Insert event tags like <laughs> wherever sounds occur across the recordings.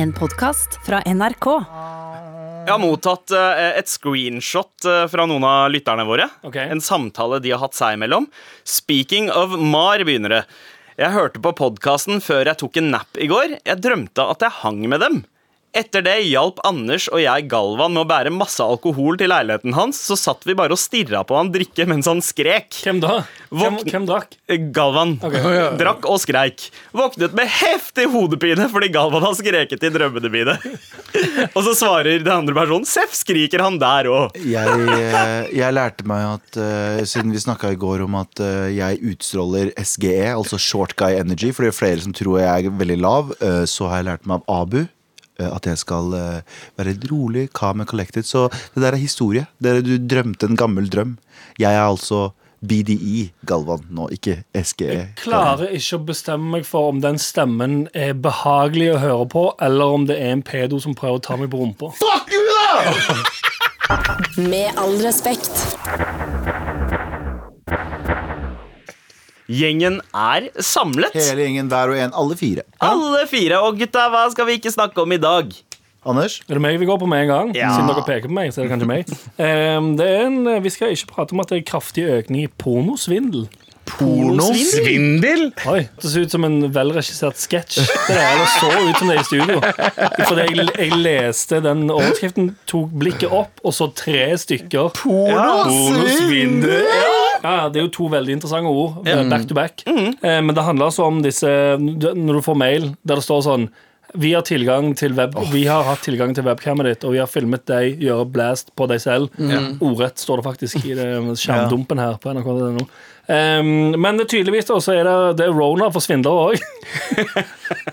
En podkast fra NRK. Jeg har mottatt eh, et screenshot eh, fra noen av lytterne våre. Ok. En samtale de har hatt seg imellom. Speaking of Mar begynner det. Jeg hørte på podkasten før jeg tok en nap i går. Jeg drømte at jeg hang med dem. Etter det hjalp Anders og jeg Galvan med å bære masse alkohol til leiligheten hans, så satt vi bare og stirra på han drikke mens han skrek. Hvem da? Hvem, Våkn- hvem drakk? Galvan drakk og skreik. Våknet med heftig hodepine fordi Galvan har skreket i drømmene mine. og så svarer den andre personen Seff skriker han der òg. Jeg, eh, jeg lærte meg at eh, Siden vi snakka i går om at eh, jeg utstråler SGE, altså Short Guy Energy, for det er flere som tror jeg er veldig lav, eh, så har jeg lært meg av Abu eh, at jeg skal eh, være rolig, calm and collected. Så det der er historie. Det er, du drømte en gammel drøm. Jeg er altså BDI Galvan nå, ikke E. SGE. Klarer ikke å bestemme meg for om den stemmen er behagelig å høre på, eller om det er en pedo som prøver å ta meg på rumpa. Med all respekt. Gjengen er samlet. Hele gjengen, hver og en. Alle fire. Alle fire. Og gutta, hva skal vi ikke snakke om i dag? Anders? Er det meg vi går på med en gang? Ja. Siden dere peker på meg, så er det kanskje meg. Ehm, det er en, vi skal ikke prate om at det er kraftig økning i pornosvindel. Pornosvin? Svindel? Oi, Det ser ut som en velregissert sketsj. Det der, eller så ut som det er i studio. Fordi jeg, jeg leste den overskriften, tok blikket opp, og så tre stykker. Ja, Det er jo to veldig interessante ord. Back to back. Eh, Men det handler altså om disse du- Når du får mail der det står sånn vi har, tilgang til web, vi har hatt tilgang til webcamet ditt, og vi har filmet deg gjøre blast på deg selv. Ordrett står det faktisk i det eh, skjermdumpen her på nrk.no. Um, men det tydeligvis da, så er det, det er Rona for svindlere òg.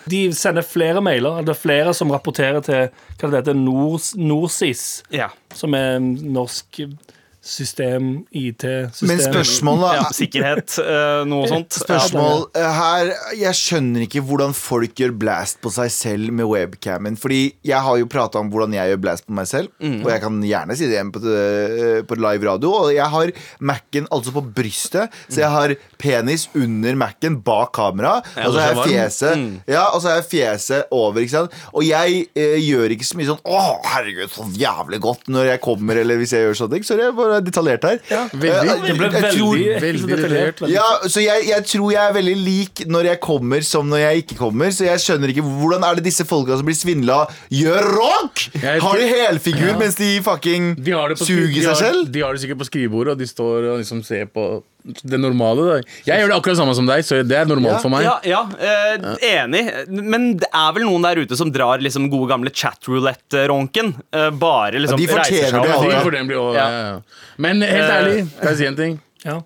De sender flere mailer. Det er flere som rapporterer til hva det heter, Nors, Norsis, Ja. som er norsk system, IT-system. Men spørsmålet ja er sikkerhet, eh, noe sånt. Spørsmål eh, her Jeg skjønner ikke hvordan folk gjør blast på seg selv med webcamen. Fordi jeg har jo prata om hvordan jeg gjør blast på meg selv, og jeg kan gjerne si det igjen på, eh, på live radio. Og jeg har Mac-en altså på brystet, så jeg har penis under Mac-en bak kamera. Og så har jeg fjeset Ja, og så har jeg fjeset over, ikke sant. Og jeg eh, gjør ikke så mye sånn Å, herregud, så jævlig godt når jeg kommer, eller hvis jeg gjør sånne ting. Sorry, jeg bare er detaljert her. Veldig. Eh, Det ble jeg veldig, tror- veldig veldig detaljert. detaljert. ja, så jeg, jeg tror jeg er veldig lik når jeg kommer som når jeg ikke kommer. Så jeg skjønner ikke hvordan er det disse folka som blir svindla, gjør rock! Jeg Har de tror- helfigur mens de fucking De har det på skri- suger de har, seg selv? De har det sikkert på skrivebordet, og de står og liksom ser på det normale. Da. Jeg gjør det akkurat samme som deg, så det er normalt Ja. for meg. Ja, ja, eh, enig. Men det er vel noen der ute som drar liksom gode gamle chatroulette-ronken. Eh, bare liksom Ja, de reiser seg fortjener opp. det, Ja, alle. de får den bli over, Ja. ja. ja, ja. Men helt Eh. ærlig, kan jeg si en ting? Ja.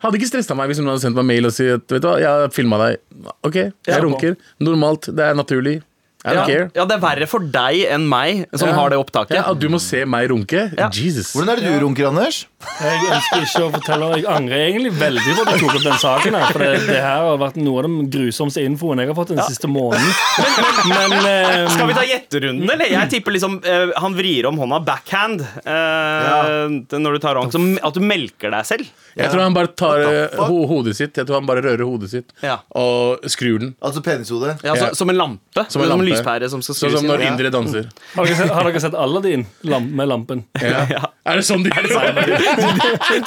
Hadde ikke stressa meg hvis noen hadde sendt meg mail og si at vet du hva, jeg har filma deg. Ok, jeg Ja. runker. Normalt. Det er naturlig. I don't Ja, care. ja, det er verre for deg enn meg som Ja. har det opptaket. Ja, at du må se meg runke? Ja. Jesus. Hvordan er det du runker, Anders? Jeg ønsker ikke å fortelle Jeg angrer egentlig veldig på at jeg tok opp den saken. her For det, det her har vært noe av den grusomste infoen jeg har fått den siste måneden. Men, eh, Skal vi ta gjetterunden, eller? Jeg tipper liksom eh, han vrir om hånda backhand eh, når du tar rank. Så m- at du melker deg selv. Jeg tror han bare tar eh, What the fuck? ho hodet sitt Jeg tror han bare rører hodet sitt Ja. og skrur den. Altså penishode? Ja, så, Ja. Som en lampe. Som en, lampe. lyspære som skal Sånn skrus som inn. når Ja. indere danser. har, dere sett, har dere sett Aladdin lam, med lampen? Ja. Er det sånn de gjør det?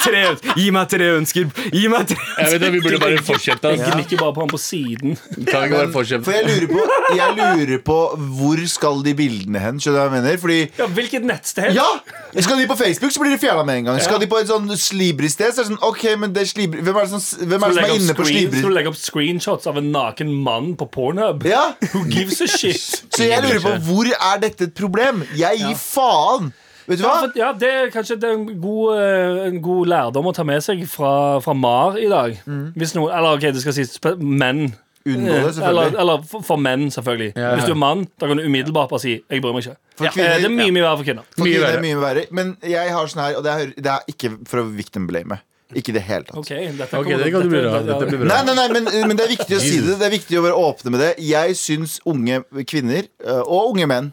<laughs> Tre, gi meg tre ønsker! Gi meg tre ønsker! Jeg vet det, Vi burde bare <laughs> fortsette. Jeg ass. gnikker bare på han på siden. Kan vi ikke bare For fortsette? jeg lurer, på, jeg lurer på hvor skal de bildene hen? Skjønner du hva jeg mener? Fordi Ja, Hvilket nettsted? ja! Skal de på Facebook, så blir de fjerna med en gang. Skal de på et sånn slibrig sted, så er det sånn Ok, men det er slibrig Hvem er det som, hvem er, det som er inne på slibrig? Skal du legge opp screenshots av en naken mann på Pornhub? Ja. Who gives a <laughs> shit? Så jeg lurer på hvor er dette et problem? Jeg gir faen! Vet du Ja, hva? for, ja, det er kanskje det er en, god, eh, en god lærdom å ta med seg fra, fra Mar i dag. Mm. Hvis noen, eller ok, det skal sies spe- menn. Unngå det, Eh, Eller, selvfølgelig. eller for, for menn, selvfølgelig. Ja. Hvis du er mann, da kan du umiddelbart bare si 'jeg bryr meg ikke'. For Eh, det er kvinner, mye mye verre for kvinner. for Mye kvinner er verre. mye verre. Men jeg har sånn her, og det er, det er ikke for å victim blame. Ikke i det hele tatt. Ok, dette Ok, kommer- det kan du bli bra. Dette blir bra. Nei, nei, nei, men, men det er viktig å si det. Det er viktig å være åpne med det. Jeg syns unge kvinner øh, eh, og unge menn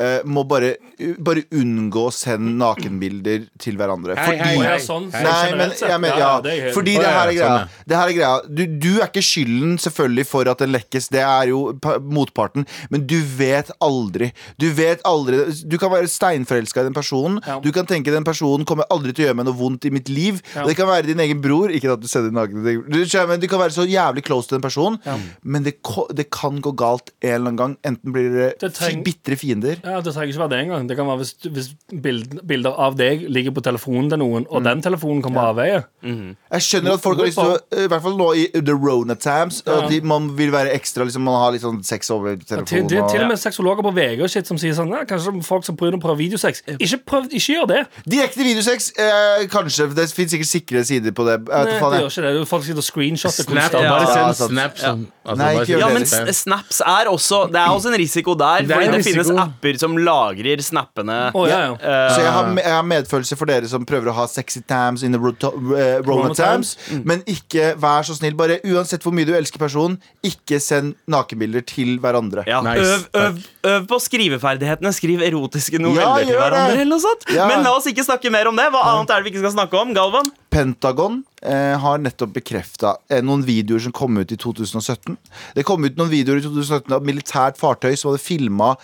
eh, må bare, bare unngå å sende nakenbilder til hverandre. Hei, hei, fordi- hei. Ja, sånn, Nei, Nei, generelt men, sett. jeg Ja, mener, ja, det er helt- Fordi det Å, ja, her er ja, greia. sånn, Det her er greia. Du, du er ikke skylden selvfølgelig for at det lekkes, det er jo pa- motparten, men du vet aldri. Du vet aldri Du kan være steinforelska i den personen. Ja. Du kan tenke den personen kommer aldri til å gjøre meg noe vondt i mitt liv. Ja. Og det kan være din egen bror. Ikke at du sender nakne ting. Du skjønner, men Du kan være så jævlig close til den personen, men det, ko- det kan gå galt en eller annen gang. Enten blir dere Det treng- bitre fiender. Ja, Det trenger ikke være det engang. Det kan være hvis, hvis bild, bilder av deg ligger på telefonen til noen, Mm. og den telefonen kommer på avveie. Jeg skjønner at folk har lyst til å eh, I hvert fall nå i The Rona Times. At de, man vil være ekstra liksom, Man har litt sånn sex over Til, telefonen. det er til og og- med sexologer på VG og shit som sier sånn «Nei, Kanskje folk som prøver å prøve videosex. Ikke, prøv, ikke gjør det! Direkte videosex! Eh, kanskje. for Det fins sikkert sikre sider på det. Jeg vet Nei, faen, Eh, det jeg. gjør ikke det. Du- Folk sitter og screenshotter Snap, konstant. bare Ja, send sant. snap. Sånn. Altså, Nei, ikke bare gjør Ja, send men det. snap. s- snaps er også Det er også en risiko der, er fordi en det finnes risiko. apper som lagrer snappene. Å, ja, ja. Så jeg har, me- jeg har medfølelse for dere som prøver å ha sexy times in the ro- to- eh, Rona Rona times. times. Mm. Men ikke vær så snill. Bare Uansett hvor mye du elsker personen, ikke send nakenbilder til hverandre. Ja, Nice, øv, øv, øv på skriveferdighetene. Skriv erotiske noveller til gjør hverandre. det. eller noe sånt Ja. Men la oss ikke snakke mer om det. Hva annet er det vi ikke skal snakke om? Galvan? Pentagon eh, har nettopp bekrefta eh, noen videoer som kom ut i 2017. Det kom ut noen videoer i 2017 av militært fartøy som hadde filma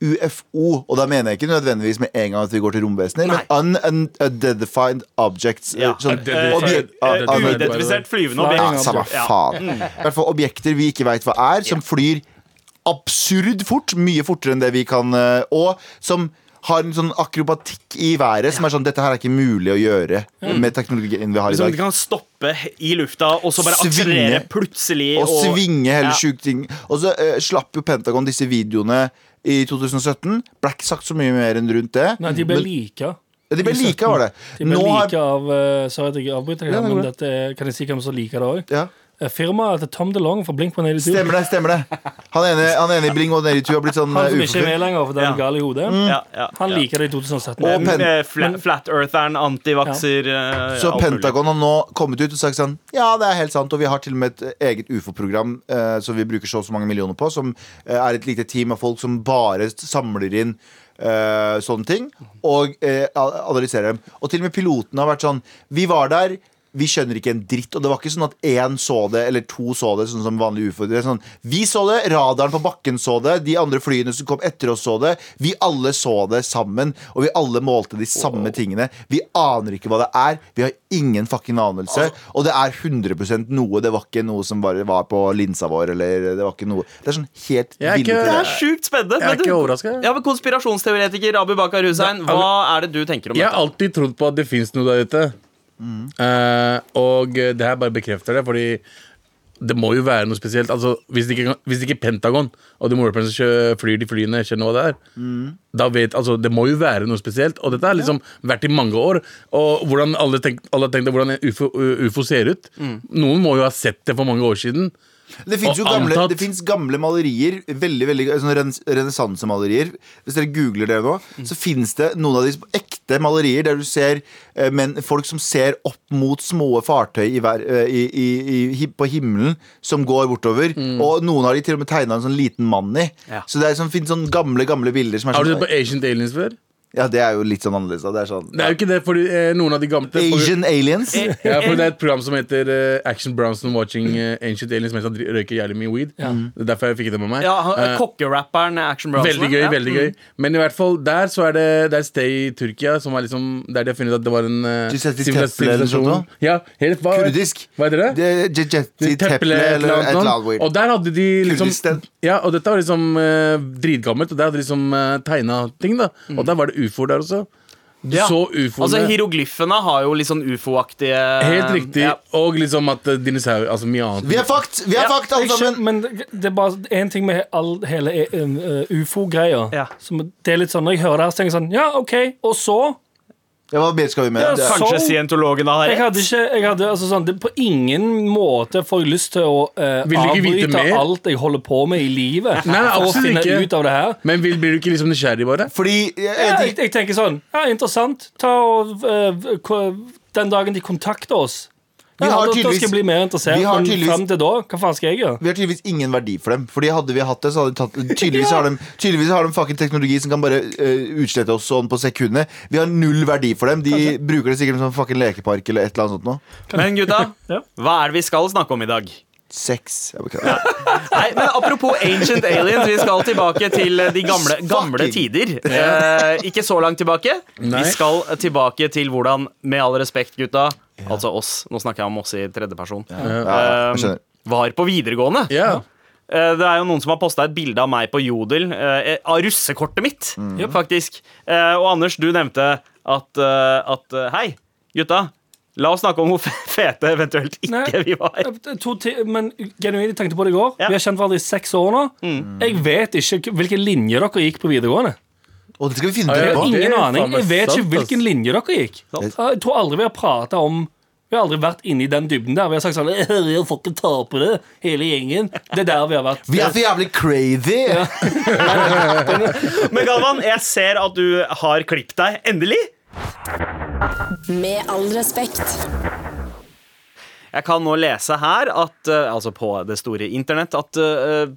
UFO, og da mener jeg ikke nødvendigvis med en gang at vi går til romvesener, men un un- unidentified objects. eh, Ja, sånn- unidentified- objek- eh, ah, ah, unidentified- Uidentifisert flyvende Flying ja, objekt. samme object. Ja. faen. altså. I hvert fall objekter vi ikke veit hva er, som flyr absurd fort. Mye fortere enn det vi kan. eh, Og som har en sånn akrobatikk i været som er sånn Dette her er ikke mulig å gjøre med teknologien vi har Sånn i Liksom, de dag. kan stoppe i lufta og så bare akselerere Svinge. plutselig. Og svinge hele Ja. sjuke ting. Og så eh, slapp jo Pentagon disse videoene i 2017. Ble ikke sagt så mye mer enn rundt det. Nei, de ble Men- like. Ja, de ble i like, var det. De ble Nå har- like av eh, Sorry at jeg avbryter, deg, Ja, det går men bra. dette, er- kan jeg si hvem som liker det òg? ja. Firmaet til Tom DeLong fra Blink 182. Stemmer det, stemmer det. Han ene, han ene i Bling og Neritu har blitt sånn Han som eh, ikke er med uforfylt. lenger fordi han Ja. er gal i hodet. Ja, ja, Han ja. liker det i 2017. Mm. Og pen- Eh, fla- Flat eartheren, antivakser eh, Så alt mulig. Pentagon har nå kommet ut og sagt sånn Ja, det er helt sant, og vi har til og med et eget ufo-program eh, som vi bruker så og så mange millioner på, som eh, er et lite team av folk som bare samler inn eh, sånne ting og eh, a- analyserer dem. Og til og med pilotene har vært sånn Vi var der. Vi skjønner ikke en dritt. Og det var ikke sånn at én så det, eller to så det. Sånn som vanlig ufo det er sånn, Vi så det, radaren på bakken så det, de andre flyene som kom etter oss så det. Vi alle så det sammen, og vi alle målte de samme tingene. Vi aner ikke hva det er. Vi har ingen fucking anelse. Og det er 100 noe. Det var ikke noe som bare var på linsa vår, eller det var ikke noe Det er sånn helt Jeg er ville ikke- Det ting. er sjukt spennende. Jeg er men du- ikke overrasket. Ja, men Konspirasjonsteoretiker Abu Bakar Hussein, hva er det du tenker om Jeg har dette? alltid trodd på at det fins noe der ute. Mm. Eh, og eh, det her bare bekrefter det, fordi det må jo være noe spesielt. Altså, hvis, det ikke, kan- hvis det ikke er Pentagon og The Morpern som kjø- flyr de flyene, skjønner hva det er, Mm. da vet altså, Det må jo være noe spesielt. Og dette har liksom vært i mange år. Og hvordan alle, tenk, alle har tenkt hvordan en UFO, UFO ser ut. Noen må jo ha sett det for mange år siden. Det fins jo Og gamle, antatt- det finnes gamle malerier. Veldig, veldig sånn rens- Renessansemalerier. Hvis dere googler det nå, Mm. så fins det noen av de som- ekte malerier der du ser eh, men, folk som ser opp mot små fartøy i vær, eh, i, i, i, hi- på himmelen som går bortover. Mm. Og noen har de til og med tegna en sånn liten mann i. Ja. Så det er sånn, finnes sånne gamle gamle bilder som er Har du sett sånn på Ancient Aliens før? Ja, det er jo litt sånn annerledes. Da. Det er sånn Det er jo ikke det, fordi eh, noen av de gamle Asian aliens. Ja, for det er et program som heter eh, Action Bronson Watching eh, Ancient Aliens mens han dri- røyker jævlig mye weed. Det er derfor jeg fikk det med meg. Ja, han- Eh, Kokkerapperen Action Bronson. veldig gøy, ja. Mm. veldig gøy. Men i hvert fall, der så er det, det er et sted i Tyrkia som er liksom Der de har funnet ut at det var en eh, Giuseppe sivila- Teple eller noe sånt sivilisasjon. da? Ja, helt hva, Kurdisk. Hva heter det? Det- Je- Je- De Teple eller et eller annet Og weird. der hadde de liksom Kurdistan. Ja, og dette var liksom eh, dritgammelt, og der hadde de liksom uh, tegna ting, da. Mm. Og der var det ufoer der også. Du Ja. så ufoene. Altså, Hieroglyfene har jo litt sånn ufo-aktige Um, Helt riktig. Ja. Og liksom at eh, dinosaur Altså mye annet. Vi er fucked! Vi er Ja, fucked, alle Jeg skjønner, sammen! men det det er bare én ting med all, hele eh, eh, ufo-greia. Ja. Som Det er litt sånn, Når jeg hører det her, så tenker jeg sånn Ja, OK. Og så? Ja, hva mer skal vi med? Ja, Det er- Kanskje Så- scientologene har Jeg rett? hadde ikke jeg hadde, altså sånn, det, På ingen måte får jeg lyst til å eh, Vil du ikke vite avbryte mer? alt jeg holder på med i livet. Nei, for å absolutt finne ikke. ut av det her. Men vil, blir du ikke liksom nysgjerrig, bare? Fordi Ja, eh, jeg, jeg tenker sånn Ja, interessant. Ta og eh, ko- Den dagen de kontakter oss Vi har da, da skal tydeligvis- jeg bli mer interessert, vi har men tydeligvis- frem til da, hva faen skal jeg gjøre? Vi har tydeligvis ingen verdi for dem. Fordi hadde vi hatt det, så hadde de tatt Tydeligvis har de, tydeligvis har de fucking teknologi som kan bare eh, utslette oss sånn på sekundet. Vi har null verdi for dem. De bruker det sikkert som fucking lekepark eller et eller annet sånt noe. Men gutta, <laughs> Ja. hva er det vi skal snakke om i dag? Sex. Jeg beklager. Nei, men Apropos Ancient Aliens, vi skal tilbake til eh, de gamle, gamle Fucking. tider. Eh, ikke så langt tilbake. Nei. Vi skal tilbake til hvordan, med all respekt, gutta, altså oss, nå snakker jeg om oss i tredjeperson, Ja, eh, ja, jeg skjønner. var på videregående. Ja. Eh, Det er jo noen som har posta et bilde av meg på Jodel eh, av russekortet mitt, faktisk. Eh, og Anders, du nevnte at, eh, at eh, Hei, gutta. La oss snakke om hvor fe- fete eventuelt ikke Nei. vi var. Eh, To ti men genuint, jeg tenkte på det i går. Ja. Vi har kjent hverandre i seks år nå. Mm. Jeg vet ikke k- hvilken linje dere gikk på videregående. Og det skal vi finne Ja, Jeg ut ja. har etterpå. det er ingen faen aning. meg Jeg vet sant, ikke hvilken ass. linje dere gikk. Jeg tror aldri vi har pratet om Vi har aldri vært inne i den dybden der. Vi har sagt sånn <laughs> «Øh, Vi har fått en tapere, hele gjengen. Det er der vi har vært. Vi er så jævlig crazy! Men Galvan, jeg ser at du har klippet deg. Endelig. Med all respekt. Jeg kan nå lese her, at, eh, altså på det store internett, at eh,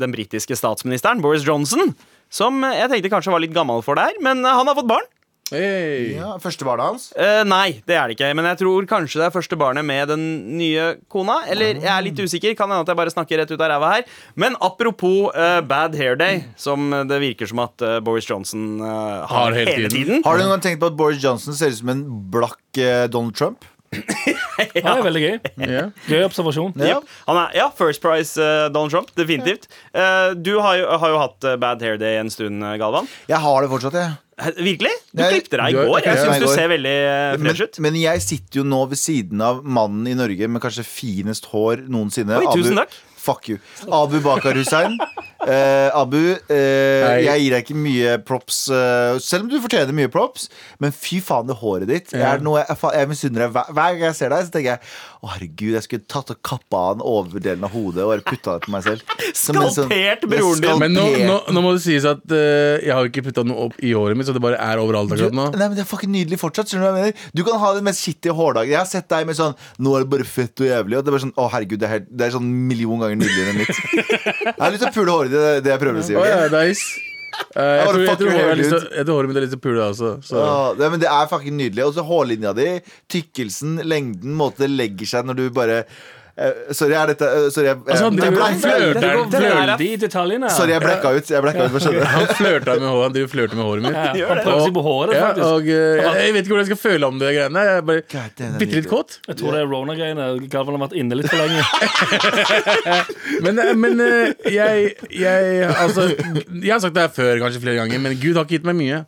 den britiske statsministeren, Boris Johnson, som jeg tenkte kanskje var litt gammel for det her, men eh, han har fått barn. Hey. Ja, første barnet hans. Eh, nei, det er det ikke. Men jeg tror kanskje det er første barnet med den nye kona. Eller jeg er litt usikker. Kan hende at jeg bare snakker rett ut av ræva her. Men apropos eh, Bad Hair Day, som det virker som at eh, Boris Johnson eh, har, hele, tiden. Har du noen gang tenkt på at Boris Johnson ser ut som en blakk eh, Donald Trump? Ja, Det er veldig gøy. Ja. Gøy observasjon. Ja. Han er, ja, First Price eh, Donald Trump. Definitivt. Eh, du har jo, har jo hatt eh, Bad Hair Day en stund, eh, Galvan. Jeg har det fortsatt, jeg. Hæ, Virkelig? Du Nei, klippte deg i du har- går. Jeg jeg syns klippte meg i du går. ser veldig eh, fresh ut. Men, men jeg sitter jo nå ved siden av mannen i Norge med kanskje finest hår noensinne. Oi, tusen takk. Fuck you. Abu <laughs> Bakar Hussein. Eh, Abu, eh, Hei. jeg gir deg ikke mye props, eh, selv om du fortjener mye props, men fy faen, det håret ditt Ja. er noe jeg, fa- jeg misunner deg. Hver, hver gang jeg ser deg, så tenker jeg å herregud, jeg skulle tatt og kappa av den overdelen av hodet og bare putta det på meg <laughs> selv. Som en sånn- Skalpert broren din. Men nå, skalpert. nå, nå må det sies at eh, jeg har ikke putta noe opp i håret mitt, så det bare er overalt Du, akkurat nå. nei, men Det er fucking nydelig fortsatt. skjønner Du hva jeg mener Du kan ha den mest skittige hårdagen. Jeg har sett deg med sånn Nå er det bare fett og jævlig. Og det er bare sånn Å, herregud, det er, helt- det er sånn million ganger nydeligere enn mitt. <laughs> Jeg har lyst til å pule håret ditt. Det er det jeg prøver å si. Å ok? ja, nice. Eh, jeg, bare tror, jeg, fucker tror håret har hele lyst til, ut. jeg tror håret mitt har lyst til å pule, det også. altså. Så. Å, det, men det er fucking nydelig. Og så hårlinja di, tykkelsen, lengden, måten det legger seg når du bare eh, Sorry, er dette eh, Sorry, jeg, jeg, Altså, han jeg, driver ble- og flørter. Det går Det der er- veldig i detaljene. her. sorry, jeg blacka ut. Jeg blacka ut, hva skjedde? Han flørta med håret, han driver og flørter med håret mitt. Ja, Han prøver seg på håret, Ja, faktisk. og, eh, jeg, jeg vet ikke hvordan jeg skal føle om det greiene. Jeg er bare God, det er bitte litt nydelig. kåt. Jeg tror det er Rona-greiene. Galvan har vært inne litt for <laughs> lenge. Men, eh, men eh, jeg, jeg Altså, jeg har sagt det her før kanskje flere ganger, men Gud har ikke gitt meg mye.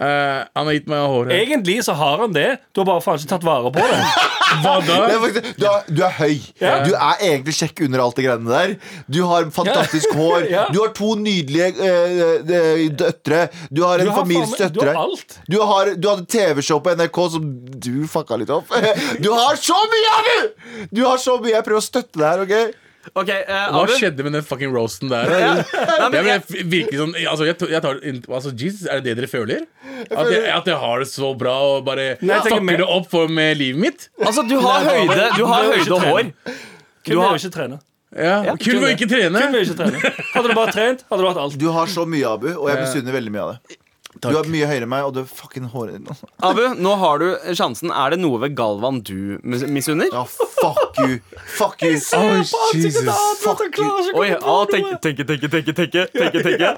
Eh, han har gitt meg håret. Egentlig så har han det. Du har bare faen ikke tatt vare på det. Hva da? Det er faktisk, du, er, du er høy. Ja. Du er egentlig sjekk under alt det greiene der. Du har fantastisk <laughs> hår. Ja. Du har to nydelige eh, eh, døtre. Du har en Du har families faen meg- du døtre. har alt. Du, har, du hadde TV-show på NRK som du fucka litt opp. <laughs> Du har så mye, Abu! Du har så mye. Jeg prøver å støtte deg her, OK? Ok, eh, Hva Abu. skjedde med den fucking roasten der? Jeg ble virkelig sånn altså, jeg, jeg tar, altså, Jesus, Er det det dere føler? At jeg, at jeg har det så bra og bare Nei, jeg tenker mer- fucker det opp for med livet mitt? Altså, du har Nei, bare- høyde, du har Du er jo høyde ikke og hår. Kun har- ved å ikke trene. Ja, Kun ved å ikke trene. Kun ved å ikke trene. Hadde du bare trent, hadde du hatt alt. Du har så mye, Abu, og jeg misunner veldig mye av det. Du er mye høyere enn meg, og du er fucking håret ditt. Abu, nå har du sjansen. Er det noe ved Galvan du mis- misunner? Ja, fuck you. Fuck you. Oh, Jesus. Fuck you. Oi, å, tenke, tenke, tenke, tenke, tenke, tenke, tenke.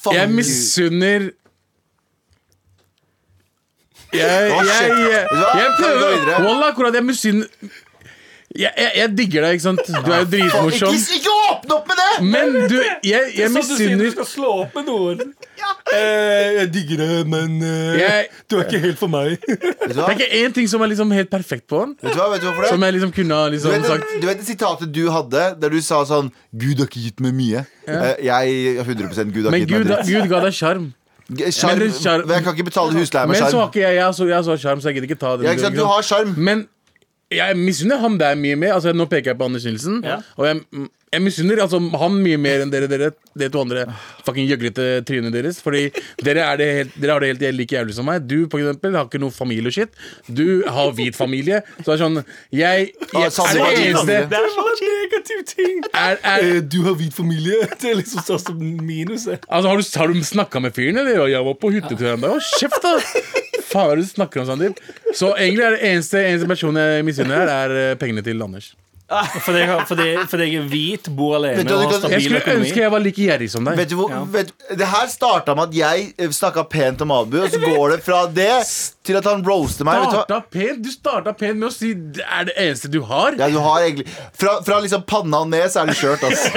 Fuck Jeg you. misunner jeg, Å, jeg, shit. jeg, Vet du hva? Kan vi jeg gå prøver videre? Wallah, akkurat jeg misunner jeg, jeg, jeg digger deg, ikke sant? Du er jo Ikke, dritmorsom. ikke åpne opp med det! Men du, jeg, jeg Sånn du sier når du misunner skal slå opp med noen. Eh, jeg digger det, men eh, Jeg- du er ikke helt for meg. Vet du hva? Det er ikke én ting som er liksom helt perfekt på han. Vet du hva, vet du hvorfor det? Som jeg liksom kunne ha Du liksom vet, sagt du vet det sitatet du hadde, der du sa sånn Gud har ikke gitt meg mye. Eh, Jeg 100 Gud har Men ikke gitt Gud, meg dritt. Gud ga deg sjarm. G- Sjarm. Men sjarm- Men Jeg kan ikke betale husleie Men med så har sjarm. ikke jeg Jeg har så jeg har så sjarm, så jeg gidder ikke ta den. Ja, ikke sant? Du har sjarm. Men jeg misunner ham der mye mer. Altså, nå peker jeg på Anders Nilsen. Ja. Og jeg, jeg misunner altså, ham mye mer enn dere, dere, dere to andre fucking gjøglete trynene deres. Fordi dere, er det helt, dere har det helt like jævlig som meg. Du for eksempel, har ikke noe familie og shit. Du har hvit familie. Så det er sånn Jeg, Ah, jeg samme er det familie, samme eneste familie. Det er så Negativ ting. er, er, Eh, Du har hvit familie. Det er liksom største minuset. altså, Har du, har du snakka med fyren, eller? Og Jeg var på hyttetur en dag. Å, Kjeft, da! Faen, hva er det du snakker om, Sandeep? Så egentlig er det eneste, eneste personen jeg misunner her, er eh, pengene til Anders. Fordi jeg, har- fordi, fordi jeg er hvit, bor alene Vet du hva, og du har kan- Jeg stabil skulle ønske økonomi. jeg var like gjerrig som deg. <laughs> Vet du hvor, vet, det her starta med at jeg snakka pent om Abu, og så går det fra det til at han roaster meg. Vet du hva? Starta pent, du starta pent med å si det er det eneste du har. Ja, du har egentlig Fra, fra liksom panna og ned, så er det skjørt, ass.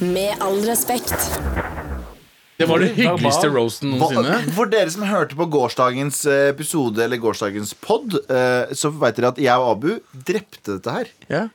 Med all respekt. Det var det hyggeligste Verbal. roasten noensinne. <laughs> Hva- For dere som hørte på gårsdagens eh, episode, eller gårsdagens pod, eh, så veit dere at jeg og Abu drepte dette her. Ja.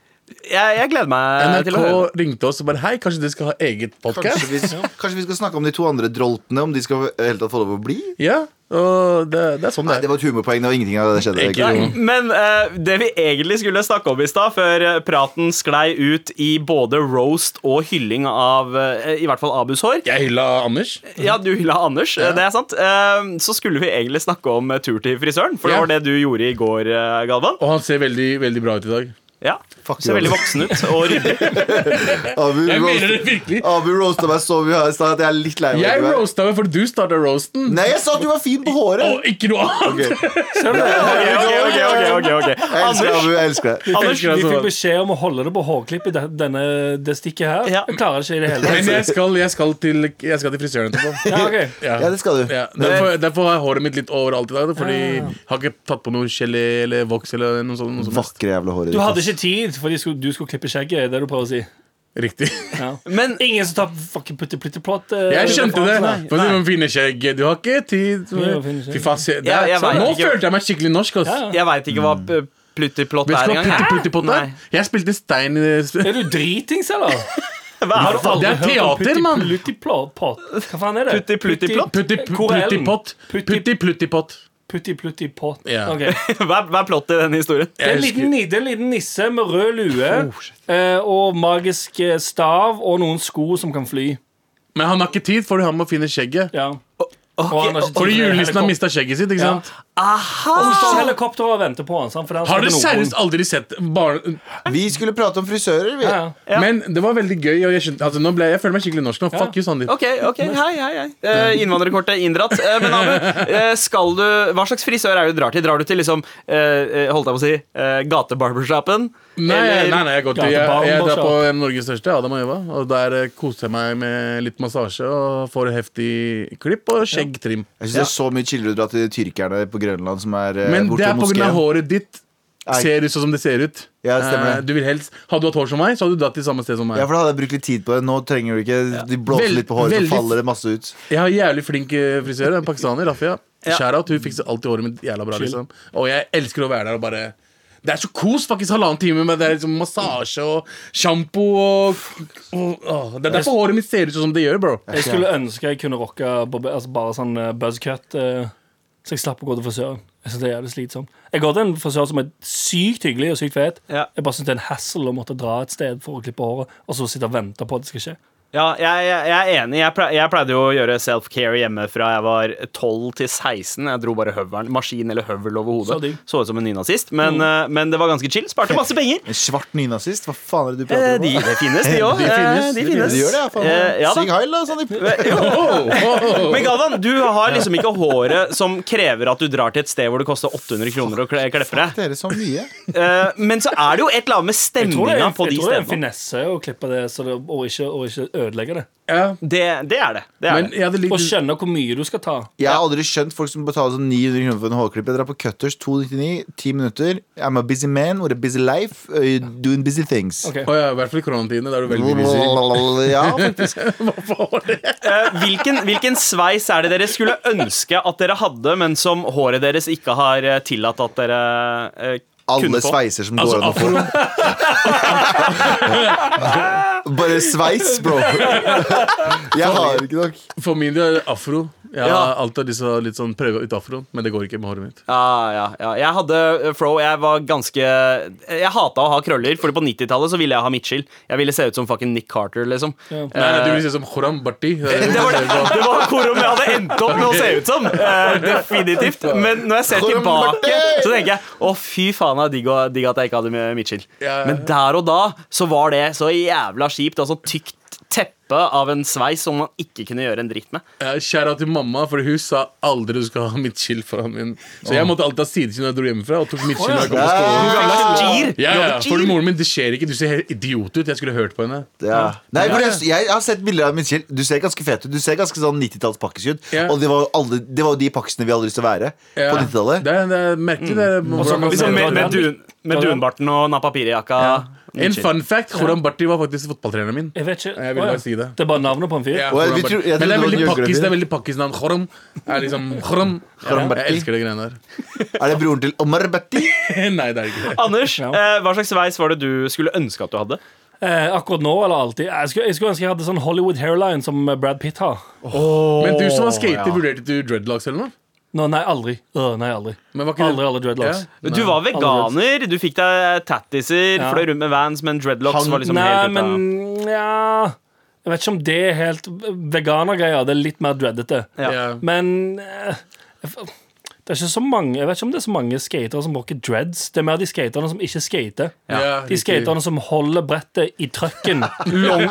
Jeg, jeg gleder meg til NRK å høre. ringte oss og bare hei, kanskje dere skal ha eget Kanskje, podkast? vi, kanskje vi skal snakke om de to andre droltene, om de skal eh, helt tatt få lov å bli? Ja, og det, det er sånn Nei, det det er. var et humorpoeng. Det var ingenting av det skjedde. Ikke Nei, Jo. men eh, det vi egentlig skulle snakke om i stad, før eh, praten sklei ut i både roast og hylling av eh, i hvert fall Abus hår Jeg hylla Anders. Ja, du hylla Anders, eh, det er sant. Eh, så skulle vi egentlig snakke om eh, tur til frisøren, for Ja. det var det du gjorde i går, eh, Galvan. Og han ser veldig, veldig bra ut i dag. Ja, Fuck Ser you, veldig Abus. voksen ut og <laughs> ryddig. Abu, Jeg mener roast, det virkelig. Abu roasta meg så mye her i stad at jeg er litt lei Jeg meg. roasta meg fordi du starta roasten. Nei, jeg sa at du var fin på håret! Og ikke noe annet! Ok. Ok, ok, ok, ok, ok, ok. Jeg elsker deg, Anders, Abu. Jeg elsker deg. Anders Vi Jeg elsker deg så fikk veldig. beskjed om å holde det på hårklippet, det- denne, det stikket her. Ja. Jeg klarer ikke i det hele tatt. Men jeg skal, jeg skal, til, jeg skal til frisøren etterpå. Ja, ok. Ja. <laughs> Ja, det skal du. Ja, derfor, derfor har jeg håret mitt litt overalt i dag. Fordi jeg har ikke tatt på noe gelé eller voks. eller noe sånt. Noe som helst. Vakre jævla håret Du hadde ditt. ass. ikke tid fordi skulle, du skulle klippe skjegget. er Det du prøver å si Riktig. ja. Men Ingen som tar fucking putti-plutti-plott. eh, Jeg skjønte det. referanser. For du må finne skjegg. Du har ikke tid. Ja, finne skjegg. Fy faen, se, det Ja, er, jeg vet nå ikke. følte jeg meg skikkelig norsk. Ass. Ja, ja. jeg veit ikke hva Mm. p- pluttiplott Vet er du hva engang. jeg. puttiputtipotten er? Nei. Jeg spilte stein eh, i Er du dritings, eller? Hva er Har du aldri Det er hørt om teater, mann. Putti-plutti-plott? Hva faen er det? Putti-plutti-plott? Hvor er den? Putti-pluttipott. Putti-pluttipott. Putti-plutti-plott. Ja. Ok. Hva er, hva er plottet i denne historien? Det er en liten, ni- det er en liten nisse med rød lue Oh, eh, og magisk eh, stav og noen sko som kan fly. Men han har ikke tid, for han må finne skjegget. Ja. Og han har ikke tid Fordi til julenissen har helikop- mista skjegget sitt. ikke Ja. sant? Aha! Og hun står helikopter og venter på han. Sant? Fordi han Har skal dere til Nordpolen. seriøst aldri sett barn... Vi skulle prate om frisører, vi. Ja, ja. Men det var veldig gøy. Og jeg, skjønte, altså, nå ble, jeg føler meg skikkelig norsk nå. Fuck you, Sandeep. Ok, ok, hei, hei, hei. Eh, innvandrerkortet inndratt. Eh, men Abu, eh, skal du, hva slags frisør er det du drar til? Drar du til liksom, eh, eh, holdt jeg på å si, eh, gatebarbershopen? Nei, Eller- nei, nei, jeg går til Ja, til Jeg, jeg drar barbershop. på Norges største, Adam og Eva. Og der eh, koser jeg meg med litt massasje og får heftig klipp og skjeggtrim. Jeg synes Det er så mye chillere å dra til tyrkerne på Grønland som er eh, Men borte det ved er på grunn av moskeen. håret ditt. Nei. Ser ut sånn som det ser ut. Ja, det stemmer Eh, det. Du vil helst, hadde du hatt hår som meg, så hadde du dratt til samme sted som meg. Ja, for da hadde jeg brukt litt tid på det. Nå trenger du ikke De blåser Vel- litt på håret, veldig- så faller det masse ut. Jeg har en jævlig flink eh, frisør. En <laughs> pakistaner, Rafia. Ja. Shout-out. Hun fikser alltid håret mitt jævla bra. liksom Og jeg elsker å være der og bare Det er så kos, faktisk, halvannen time med det er liksom massasje og sjampo og, og åh, Det er derfor håret mitt ser ut sånn som det gjør, bro. Jeg skulle ønske jeg kunne rocke barbe- altså bare sånn eh, buzzcut, eh, så jeg slapp å gå til frisøren. Jeg synes det er jævlig slitsomt. Jeg går til en frisør som er sykt hyggelig og sykt fet. Ja. Jeg bare synes det er en hassle å måtte dra et sted for å klippe håret, og så sitte og vente på at det skal skje. Ja, jeg, jeg, jeg er enig. Jeg, ple, jeg pleide jo å gjøre self-care hjemme fra jeg var 12 til 16. Jeg dro bare høvelen, maskin eller høvel over Så digg. hodet. Så ut som en nynazist, men, Mm. eh, men det var ganske chill. <laughs> Sparte masse penger. En svart nynazist? Hva faen er det du Eh, prater om? de, da? det finnes, <laughs> de òg. De finnes, eh, de de finnes. Det gjør det, ja. Faen. Eh, ja da. Sig heil, da, Sandeep. <laughs> Oh, oh, oh. Men Galvan, du har liksom ikke håret som krever at du drar til et sted hvor det koster 800 kroner å kle- klippe deg. Dere så mye. Eh, men så er det jo et eller annet med Jeg tror det er stemninga en, på de jeg tror det er en stedene. finesse å klippe det, så det og, ikke, og ikke ødelegge det. Ja, Det, det er det. det, er men det. jeg hadde Og likt skjønne hvor mye du skal ta. Jeg har aldri skjønt folk som betaler sånn 900 kroner for en hårklipp. Jeg drar på Cutters 299, 10 minutter. I'm a busy man with a busy life, uh, doing busy things. Ok. Å ja, I hvert fall i koronatidene. Da er du veldig busy. <laughs> Ja, faktisk. <laughs> Eh, hvilken, hvilken sveis er det dere skulle ønske at dere hadde, men som håret deres ikke har eh, tillatt at dere eh, Alle kunne få? <laughs> sveiser som Altså, går an å få. afro, Bare sveis, <laughs> bro. Jeg har ikke nok. For min del er det afro. Jeg har Ja. alltid lyst til å litt sånn prøve ut afroen, men det går ikke med håret mitt. Ja, ja, ja. Jeg hadde eh, fro. Jeg var ganske Jeg hata å ha krøller, Fordi på 90-tallet så ville jeg ha midtskill. Jeg ville se ut som fucking Nick Carter, liksom. Eh, Nei, nei, du vil se ut som Horam <laughs> Barti. <laughs> det var, det var korom jeg hadde endt opp med å se ut som. eh, definitivt. Men når jeg ser Korom tilbake, Barti! så tenker jeg å, fy faen, det er digg, å- digg at jeg ikke hadde med midtskill. Ja. Men der og da så var det så jævla kjipt. Altså tykt teppe av en sveis som man ikke kunne gjøre en dritt med. Kjære til mamma, for hun sa aldri du skal ha midtskill foran min. Så jeg måtte alltid ha sideskinn når jeg dro hjemmefra, og tok midtskill når jeg kom på skolen. Gir. Ja, ja, for moren min, det skjer ikke. Du ser helt idiot ut. Jeg skulle hørt på henne. Ja. Nei, for jeg, jeg har sett bilder av Mitchell. Du ser ganske fet ut. Du ser ganske sånn 90-talls pakkis ut. Ja. Og det var, jo alle, det var jo de pakkisene vi hadde lyst til å være Ja. Mm. på 90-tallet. Det, er- det er merkelig. Det er, så hvordan, kan vi Liksom med, med, dun, med Ja. dunbarten og napapirjakka. en fun fact. Horam Barti var faktisk fotballtreneren min. Jeg vet ikke. Jeg ville Å, ja. bare si det. Det er bare navnet på en fyr. Ja, Og jeg- Horam vi Barti. tror- jeg Men det er trodde det veldig var pakkis, Jørgen det er veldig pakkis navn. Horam er liksom Horam. Horam Ja, Barti. jeg elsker det greiene der. Er det broren til Omar Batti? Nei, det er ikke det. Anders, Ja. eh, hva slags sveis var det du skulle ønske at du hadde? Eh, akkurat nå eller alltid. Jeg skulle, jeg skulle ønske jeg hadde sånn Hollywood hairline som eh, Brad Pitt har. Men du som var skater, vurderte du dreadlocks eller noe? Nå, nei, aldri. Øh, nei, aldri. Men var ikke det- Aldri, aldri dreadlocks. Ja. Du var veganer, du fikk deg tattiser, Ja. fløy rundt med vans, men dreadlocks Han- var liksom Nei, helt ute. men ja Jeg vet ikke om det er helt veganergreier. Det er litt mer dreadete. Ja. Ja. Men eh, jeg f- det er ikke så mange Jeg vet ikke om det er så mange skatere som bruker dreads. Det er mer de skaterne som ikke skater. Ja, De riktig. skaterne som holder brettet i <laughs> trøkken. Long,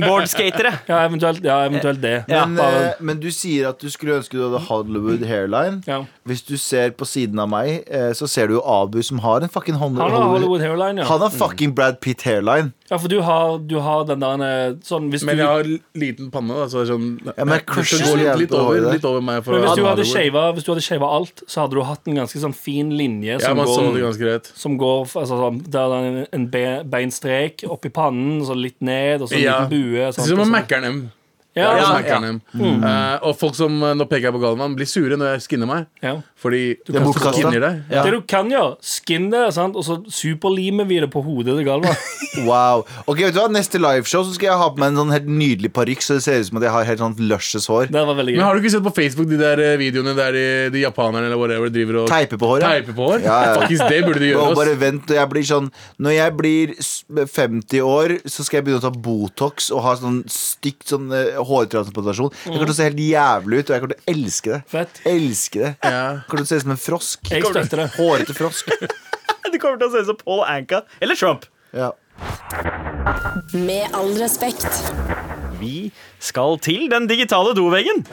Longboardskatere. Ja, eventuelt, ja, eventuelt det. Men, Bare, eh, men du sier at du skulle ønske du hadde Hollywood hairline. Ja. Hvis du ser på siden av meg, eh, så ser du jo Abu som har en fucking Hollywood, han har Hollywood hairline, ja. Han har fucking Brad Pitt hairline. ja for du har, du har den der eh, sånn, hvis, du, Men jeg har liten panne. da, så det er sånn, Ja, men jeg det crusher skal gå litt, jævlig litt, på over, håret. litt over meg. For men å- hvis, du hadde Hollywood. shavet- hvis du hadde shava alt, så hadde du hatt en ganske sånn fin linje Ja, som man så det går, ganske greit. som går f- altså, sånn, Der det er en be, beinstrek opp i pannen, så litt ned, og så en Ja. liten bue. sånn liksom. og Det sånt, er som og om sånt. Mækkern M. Ja, Det altså. er ja, som Mækkern M. Eh, og folk som eh, nå peker jeg på Galvan, blir sure når jeg skinner meg. ja. Fordi Det er bortkastet. skinner deg. Ja. Det du kan gjøre, skin det, sant? og så superlimer vi det på hodet til <laughs> Galvan. Wow. Ok, vet du hva? Neste liveshow så skal jeg ha på meg en sånn helt nydelig parykk, så det ser ut som at jeg har helt sånn lushes hår. Det var veldig Men gøy. har du ikke sett på Facebook de der eh, videoene der de, de japanerne eller whatever driver og Teipe på håret. teiper på hår? Ja, ja. Faktisk, det burde de gjøre Og oss. bare vent, og jeg blir sånn Når jeg blir s- 50 år, så skal jeg begynne å ta Botox og ha sånn stygt sånn eh, hårtransplantasjon. Jeg kommer til å se helt jævlig ut, og jeg kommer til å elske det. Fett. Elske det. Ja. Jeg kommer til å se ut som en frosk. Jeg støtter det. Hårete <laughs> frosk. <laughs> Du kommer til å se ut som Paul Anka eller Trump. Ja. Med all respekt. Vi skal til den digitale doveggen.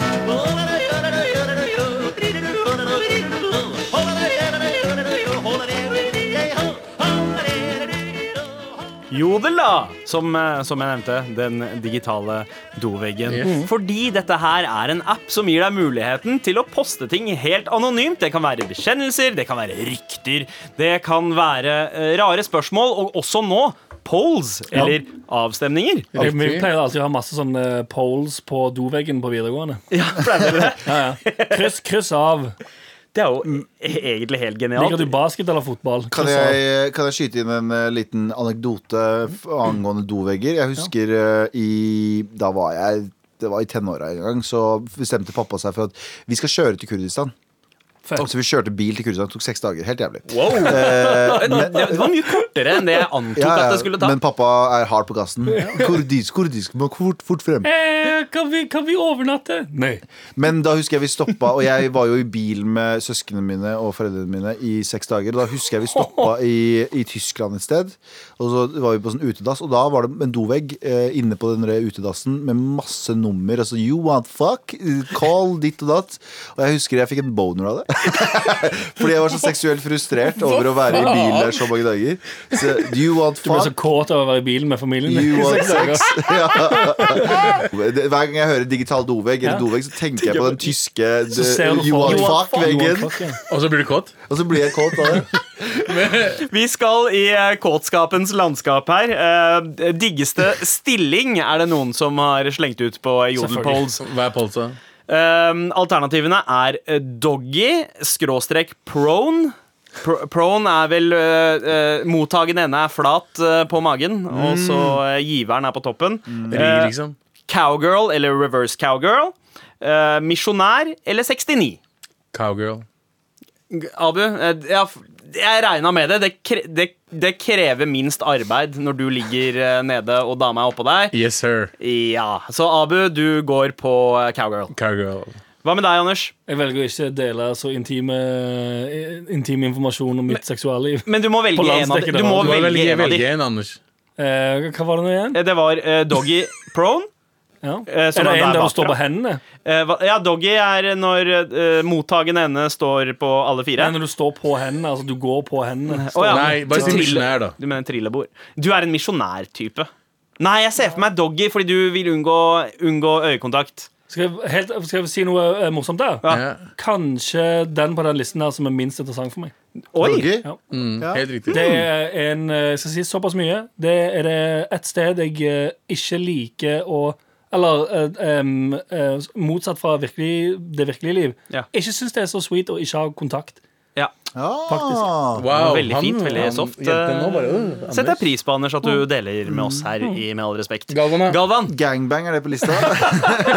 Jodel, da! Som, eh, som jeg nevnte, den digitale doveggen. Fordi dette her er en app som gir deg muligheten til å poste ting helt anonymt. Det kan være bekjennelser, det kan være rykter, det kan være eh, rare spørsmål, og også nå polls, Ja. eller avstemninger. Jeg, vi Riktig. pleier alltid å ha masse sånne poles på doveggen på videregående. Ja, pleier dere det? Ja, ja. Kryss, kryss av. Det er jo e- egentlig helt Liker genialt. du basket eller fotball? Kan Kryss av. jeg, kan jeg skyte inn en eh, liten anekdote f- angående dovegger? Jeg husker eh, i Da var jeg det var i tenåra en gang, så bestemte pappa seg for at vi skal kjøre til Kurdistan. Fett. Så vi kjørte bil til Kurdistan. Det tok seks dager. Helt jævlig. Wow. det, det var mye kortere enn det jeg antok Ja, at ja, det skulle ta. men pappa er hard på gassen. Kurdisk, kurdisk, må fort, fort frem. Eh, kan, vi, kan vi overnatte? Nei. Men da husker jeg vi stoppa, og jeg var jo i bil med søsknene mine og foreldrene mine i seks dager. Og da husker jeg vi stoppa i, i Tyskland et sted, og så var vi på sånn utedass. Og da var det en dovegg eh, inne på den der utedassen med masse nummer. Altså you want fuck, call ditt og datt. Og jeg husker jeg fikk en boner av det. <laughs> Fordi jeg var så seksuelt frustrert over å være i bil der så mange dager. Så do you want Du ble så fuck? kåt av å være i bilen med familien. You <laughs> want Seks dager. sex? Ja. Det- Hver gang jeg hører digital dovegg, eller Ja. dovegg så tenker jeg på den tyske eh, Så ser du det- You for- want You want fuck-veggen. fuck, ja. Og så blir du kåt. Og så blir jeg kåt av det. Vi skal i eh, kåtskapens landskap her. Eh, diggeste stilling er det noen som har slengt ut på Selvfølgelig. Jodelpolls. Hva er polsa? Eh, alternativene er eh, doggy, skråstrek prone, Pro prone er vel øh, øh, Mottagende ende er flat øh, på magen, og så øh, giveren er på toppen. Eh. Rir, liksom. Cowgirl eller reverse cowgirl. eh, Misjonær eller 69. Cowgirl. Abu, eh, ja, f- jeg regna med det. Det, kre det. det krever minst arbeid når du ligger eh, nede og dama er oppå deg. Yes, sir. Ja, Så Abu, du går på eh, cowgirl. Cowgirl. Hva med deg, Anders? Jeg velger å ikke dele så intime, eh, intim informasjon om mitt seksualliv. Men du må velge På en av de. landsdekkende Du må radio. Du må velge, velge, en av de. velge en, Anders. Eh, hva var det nå igjen? Eh, Det var eh, doggy prone. Ja. Eh, Er som det han der en der bakfra? du står på hendene? Eh, hva- Ja, doggy er når eh, mottagende ende står på alle fire. Nei, når du står på hendene, altså du går på hendene. Å, ja. Nei, bare si Til- misjonær, da. Du mener trillebår. Du er en misjonærtype. Nei, jeg ser for meg doggy fordi du vil unngå, unngå øyekontakt. Skal jeg, helt, skal jeg si noe eh, morsomt der? Ja. Ja. Kanskje den på den listen her som er minst interessant for meg. Oi! Doggy? Ja. Mm, Ja. Helt riktig. Det er en, eh, jeg skal si såpass mye. Det er det et sted jeg eh, ikke liker å Eller eh, em, eh, motsatt fra virkelig, det virkelige liv. Ja. Ikke syns det er så sweet å ikke ha kontakt. Ja. Ah. Wow, Veldig han- fint, veldig han- soft. eh, jenten nå bare, øh, Anders. Setter jeg pris på, Anders, at du deler med oss her, i med all respekt. Galvan, da? Galvan, Gangbang, er det på lista? <laughs>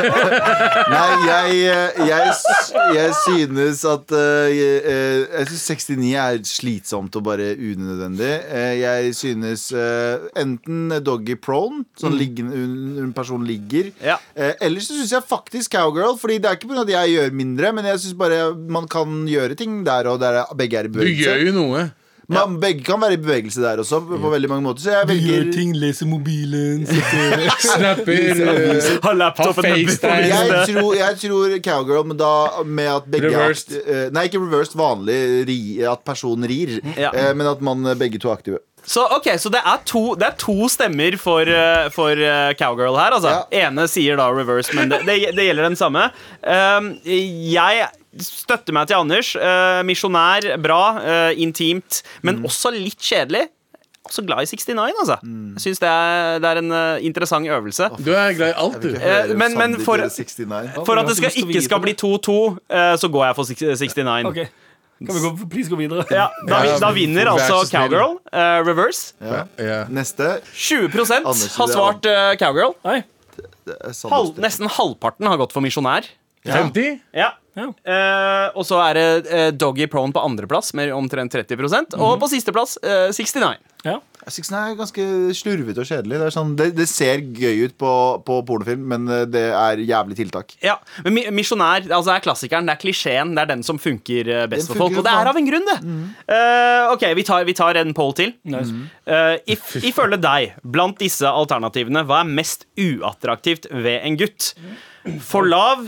Nei, jeg, eh, jeg, s- jeg synes at eh, Jeg eh, jeg synes 69 er slitsomt og bare unødvendig. Eh, Jeg synes eh, enten doggy prone, sånn Mm. liggende, un- en person ligger. Ja. Eh, Ellers så synes jeg faktisk cowgirl, Fordi det er ikke på grunn av at jeg gjør mindre, men jeg synes bare man kan gjøre ting der og der begge er i Du gjør bevegelse. jo noe. Man, begge kan være i bevegelse der også, på veldig mange måter. Så jeg velger leser mobilen <laughs> Snapper, øh, har laptopen Ha med FaceTime. på jeg, brystet. tror, jeg tror cowgirl, men da med at begge er Reversed. akti- eh, Nei, ikke reversed, vanlig ri, at personen rir. Ja. eh, Men at man eh, begge to er aktive. <laughs> Så ok, så det er to, det er to stemmer for, eh, for eh, cowgirl her, altså. Ene sier da reverse, men det, det, det gjelder den samme. Um, jeg støtter meg til Anders. Eh, misjonær, bra, eh, intimt, men Mm. også litt kjedelig. Også glad i 69, altså. Mm. Jeg syns det, er- det er en eh, interessant øvelse. Du er glad i alt, du. Eh, men- men for- For at det skal, ikke skal bli 2-2, eh, så går jeg for 69. <laughs> Ok, kan vi gå, please gå videre? Ja, da, Ja, da vinner vær så altså snill. Cowgirl eh, reverse. ja. Ja. Neste. 20 Anders, har det er svart eh, Cowgirl. Nei. eh, Sander Halv, Steffensen. nesten halvparten har gått for misjonær. 50? Ja. Ja. Eh, og så er det eh, Doggy Prone på andreplass med omtrent 30 Og på sisteplass eh, 69. Ja. Jeg synes den er ganske slurvete og kjedelig. Det, er sånn, det, det ser gøy ut på, på pornofilm, men eh, det er jævlig tiltak. Ja, men mi- Misjonær altså er klassikeren, det er klisjeen. Det er den som funker eh, best Den for folk. funker Og det jo Mhm. faen. er av en grunn, det. Eh, ok, vi tar, vi tar en poll til. Eh, if, ifølge deg, blant disse alternativene, hva er mest uattraktivt ved en gutt? For lav,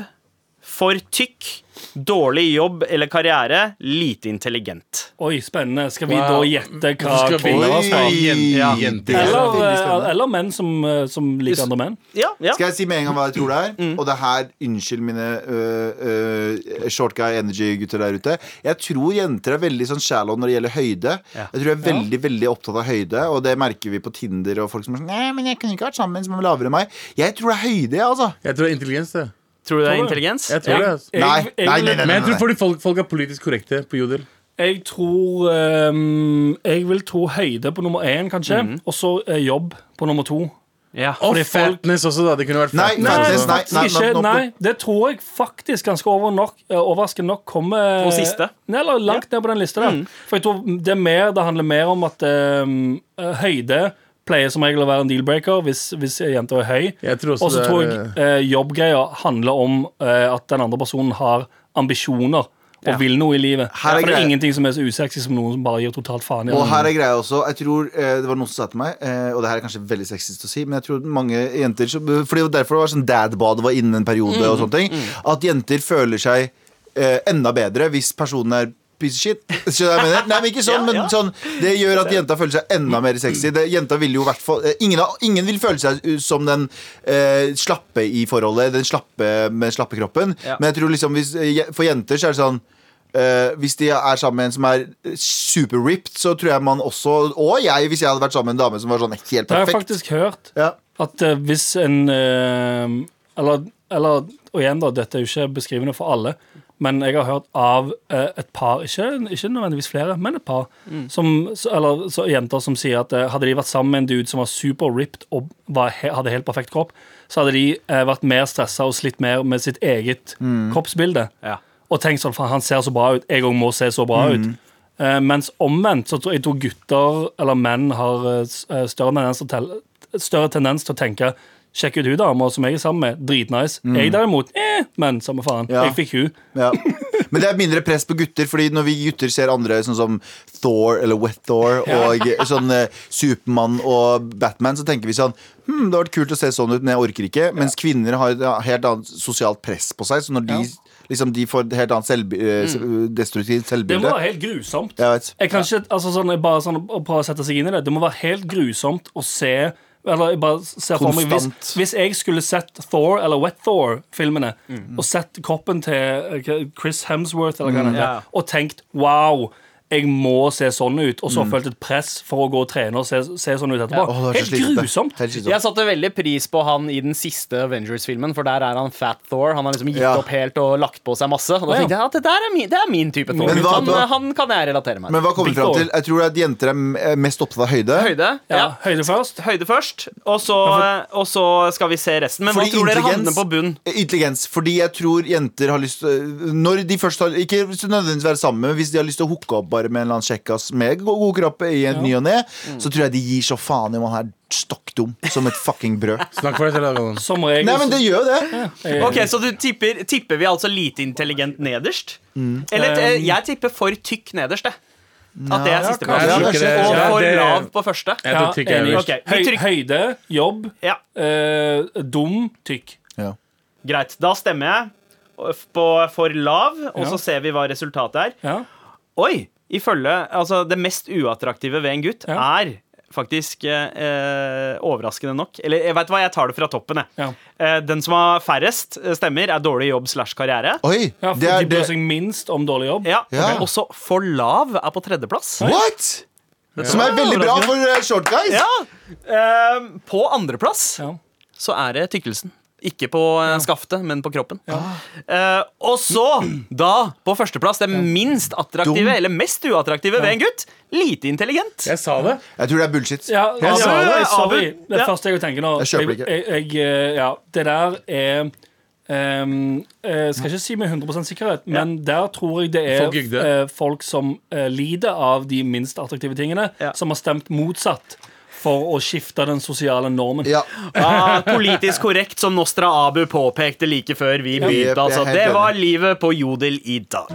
for tykk, dårlig jobb eller karriere, lite intelligent. Oi, spennende. Skal vi da Wow. gjette hva Skal vi- kvinner har svart? Jen- Ja. Jenter. Eller, Veldig eh, spennende. eller menn som, eh, som liker andre menn? Ja, ja. Mm. Skal jeg si med en gang hva jeg tror det er? Og det her, unnskyld mine øh, øh, short guy energy-gutter der ute. Jeg tror jenter er veldig sånn shallow når det gjelder høyde. Ja. Jeg tror jeg er veldig veldig opptatt av høyde, og det merker vi på Tinder. Og folk som er sånn Nei, men jeg kunne ikke vært sammen med en som er lavere enn meg. Jeg tror det er høyde, jeg, altså. Jeg tror det er intelligens, det. Tror du det er Tror du? intelligens? Jeg tror det, altså. Jeg- Nei, jeg- nei, nei, nei. Men jeg tror fordi folk, folk er politisk korrekte på Jodel. Jeg tror ehm, Jeg vil tro høyde på nummer én, kanskje. Mhm. Og så eh, jobb på nummer to. Ja. Og Fordi folk- fatness også, da. Det kunne vært Nei, fatness. nei, også. nei. faktisk ikke. nå- nå- Nei, det tror jeg faktisk ganske over nok, eh, overraskende nok kommer På siste? Mhm. Nei, eller langt ned på den lista der. For jeg tror det, er mer, det handler mer om at ehm, eh, høyde pleier som regel å være en deal-breaker hvis, hvis jenta er høy. Jeg tror også Og så det er, tror jeg eh, jobbgreia handler om eh, at den andre personen har ambisjoner. Og Ja. vil noe i livet. Her er For det er greia. ingenting som er så usexy som noen som bare gir totalt faen i Og andre. her er greia også Jeg tror, eh, Det var noen som sa til meg, eh, og det her er kanskje veldig sexist å si, men jeg tror mange jenter som- Fordi det var derfor det var sånn dadbad var inne en periode, Mm, og sånne ting at jenter føler seg eh, enda bedre hvis personen er piece of shit. Skjønner du hva jeg mener? Nei, men ikke sånn, men Ja, ja. sånn Det gjør at jenta føler seg enda mer sexy. Det, jenta vil jo i hvert fall eh, ingen, av- ingen vil føle seg u- som den eh, slappe i forholdet, den slappe med slappe kroppen, Ja. men jeg tror liksom hvis, eh, je- for jenter så er det sånn Eh, hvis de er sammen med en som er super-ripped, så tror jeg man også Og jeg, hvis jeg hadde vært sammen med en dame som var sånn helt Det har jeg perfekt. faktisk hørt. Ja. At eh, hvis en eh, eller, eller, og igjen, da, dette er jo ikke beskrivende for alle, Men jeg har hørt av eh, et par, ikke, ikke nødvendigvis flere, men et par, som, s- eller så, jenter som sier at eh, hadde de vært sammen med en dude som var super ripped og var, he, hadde helt perfekt kropp, så hadde de eh, vært mer stressa og slitt mer med sitt eget kroppsbilde. Ja. Og tenkt sånn, faen, han ser så bra ut, jeg òg må se så bra ut. Eh, mens omvendt så tror jeg tror gutter eller menn har eh, s- eh, større tendens til å, telle, større tendens til å tenke Sjekk ut hun dama som jeg er sammen med. Dritnice. Jeg derimot, eh, men samme faen. Ja. Jeg fikk hun. Ja. <laughs> Men det er mindre press på gutter, Fordi når vi gutter ser andre sånn som Thor eller Wet Thor og sånn eh, Supermann og Batman, så tenker vi sånn Hm, det har vært kult å se sånn ut, men jeg orker ikke. Mens kvinner har et helt annet sosialt press på seg, så når de, liksom, de får et helt annet selvbi eh, se- Mm. Det destruktivt må selvbilde være helt grusomt. Jeg vet. Jeg kan ikke, altså sånn, jeg bare sånn, å prøve å sette seg inn i det. Det må være helt grusomt å se eller jeg bare ser for meg, hvis, Konstant. hvis jeg skulle sett Thor eller Wet Thor-filmene og sett kroppen til eh, hva- Chris Hemsworth eller hva han heter, Ja. og tenkt wow, jeg må se sånn ut, og så følt et press for å gå og trene og se, se sånn ut etterpå. Åh, det er så helt slitsomt. grusomt. Helt slitsomt. Jeg satte veldig pris på han i den siste Avengers-filmen, for der er han Fat Thor. Han har liksom gitt Ja. opp helt og lagt på seg masse. Og da tenkte jeg at det der er min, det er min type Thor. Men hva- han, eh, hva- han kan jeg relatere meg Men til. hva kommer vi fram til? Jeg tror at jenter er m- eh, mest opptatt av høyde. Høyde? Ja, Ja. Høyde først. Høyde først, og så, og så skal vi se resten. Men hva tror dere havner på bunn? eh, Intelligens. Fordi jeg tror jenter har lyst øh, Når de først har Ikke nødvendigvis være sammen, men hvis de har lyst til å hooke opp bare med en eller annen kjekkas med god, god kropp i en ny og ne, så tror jeg de gir så faen i om han er stokk dum som et fucking brød. Snakk for deg selv. Galvan. Som regel. Nei, men det gjør jo det. Ok, Så du tipper, tipper vi altså lite intelligent nederst? Mm. Eller eh, Um, jeg tipper for tykk nederst, jeg. At det er siste Jeg punkt. tror ikke det- Og ja, for det- lav på første. Jeg tror tykk er enig. øverst. Ok, vi Høy, trykker- høyde, jobb, Ja, eh, dum, tykk. Ja. Greit. Da stemmer jeg på for lav, og Ja. så ser vi hva resultatet er. Ja. Oi! Ifølge Altså, det mest uattraktive ved en gutt Ja. er faktisk eh, eh, overraskende nok Eller jeg vet hva, jeg tar det fra toppen, jeg. Ja. Eh, den som har færrest eh, stemmer, er dårlig jobb slash karriere. Oi! Ja, for Det er de bryr det seg minst om dårlig jobb. Ja. Ja. Og så for lav er på tredjeplass. What?! Som er veldig bra for eh, short guys. Ja. Eh, på andreplass Ja. så er det tykkelsen. Ikke på eh, skaftet, men på kroppen. Eh, og så, da, på førsteplass, det minst attraktive, Dum. eller mest uattraktive ved en gutt. Lite intelligent. Jeg sa det. Jeg tror det er bullshit. Ja, Helt altså, sant. jeg, sorry. Abu, Det ja. første jeg tenker nå Jeg kjøper det ikke. jeg, jeg, eh, ja, Det der er ehm, eh, Skal ikke si med 100 sikkerhet, men der tror jeg det er Folk jugde. eh, folk som eh, lider av de minst attraktive tingene, Ja. som har stemt motsatt for å skifte den sosiale normen. Ja. Ja, Ah, politisk korrekt, som Nostra Abu påpekte like før vi jeg begynte. er Altså. helt Det enig. var livet på Jodel i dag.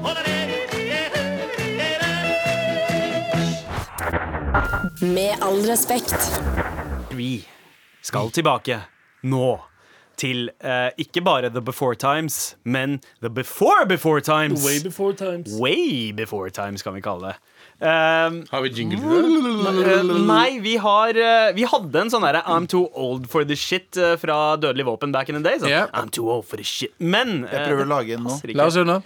Med all respekt. Vi skal tilbake nå til eh, ikke bare The Before Times, men The Before Before Times. Way before times. Way Before Times, kan vi kalle det. Um, Har vi jingle til det? Eh, nei, vi har eh, Vi hadde en sånn derre I'm too old for this shit eh, fra Dødelig våpen back in the day. Sånn, Ja. I'm too old for this shit Men eh, Jeg prøver å det lage en nå. passer ikke. La oss høre nå.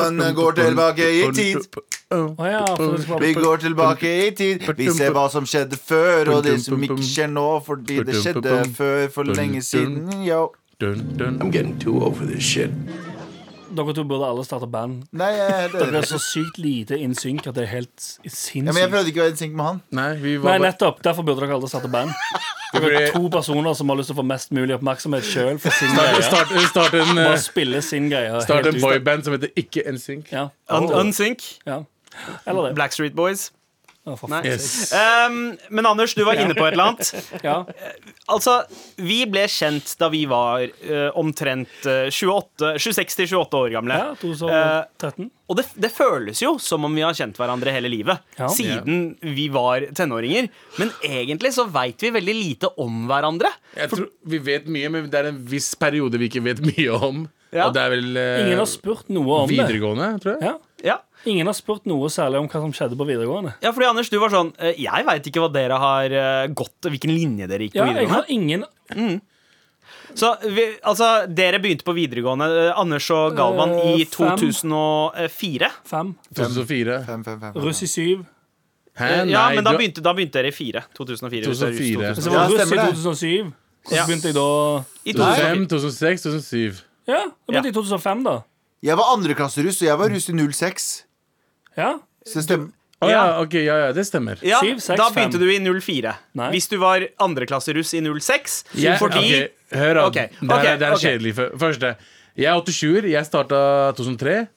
Man går tilbake i tid. Å ja, for det skal Vi være- går tilbake i tid. Vi ser hva som skjedde før, og det som ikke skjer nå, fordi det skjedde før for lenge siden. Yo. Dun, dun. Dere to burde alle starte band. Nei, jeg, det, Det er så sykt lite innsynk at det er helt s- sinnssykt. ja, men jeg prøvde ikke å være i synk med han. Nei, vi Nei, var bare nettopp. Derfor burde dere aldri starte band. Dere er to personer som har lyst til å få mest mulig oppmerksomhet sjøl for sin greie. Start, start en, eh, Bare spille sin greie. start helt en ut. boyband som heter Ikke NSYNC. Ja. Un Unsync. ja. Eller det. Blackstreet Boys. Å, for Nei. faen. Yes. Um, men Anders, du var inne på et eller <laughs> annet. Ja. Altså, vi ble kjent da vi var eh, omtrent eh, 28 26-28 år gamle. ja Eh, 2013. Og det, det føles jo som om vi har kjent hverandre hele livet. Ja. Siden vi var tenåringer. Men egentlig så veit vi veldig lite om hverandre. Jeg tror Vi vet mye, men det er en viss periode vi ikke vet mye om. Ja. Og det er vel eh, Ingen har spurt noe om det. videregående, tror jeg. Ja. Ja, Ingen har spurt noe særlig om hva som skjedde på videregående. ja fordi Anders, du var sånn eh, Jeg veit ikke hva dere har eh, gått Hvilken linje dere gikk på Ja, jeg videregående. har ingen Så vi, altså, dere begynte på videregående, eh, Anders og Galvan, Eh, i fem. 2004. fem. 2004. Fem, fem, fem, fem. Russ i syv. Hæ? Ja, Eh, Nei, men da du- begynte, da begynte dere i fire. 2004. hvis det er russ 2004. Så 2000. var Ja, russ i stemmer det. 2007. Ja. Så begynte jeg da I 2004. 2005, 2006, 2007. Ja, det begynte Ja. i 2005, da. Jeg var andreklasseruss, og jeg var russ i 06. Ja. Så det stemmer. Å ja, Ja. ok, ja, ja, det stemmer. Ja, Syv, seks, da fem. begynte du i 04. Nei. Hvis du var andreklasseruss i 06, Jeg, fordi ok, hør, da. Ok, Det her er, ok, det her er ok. kjedelig. Fø- Første. Jeg er 87-er. Jeg starta 2003.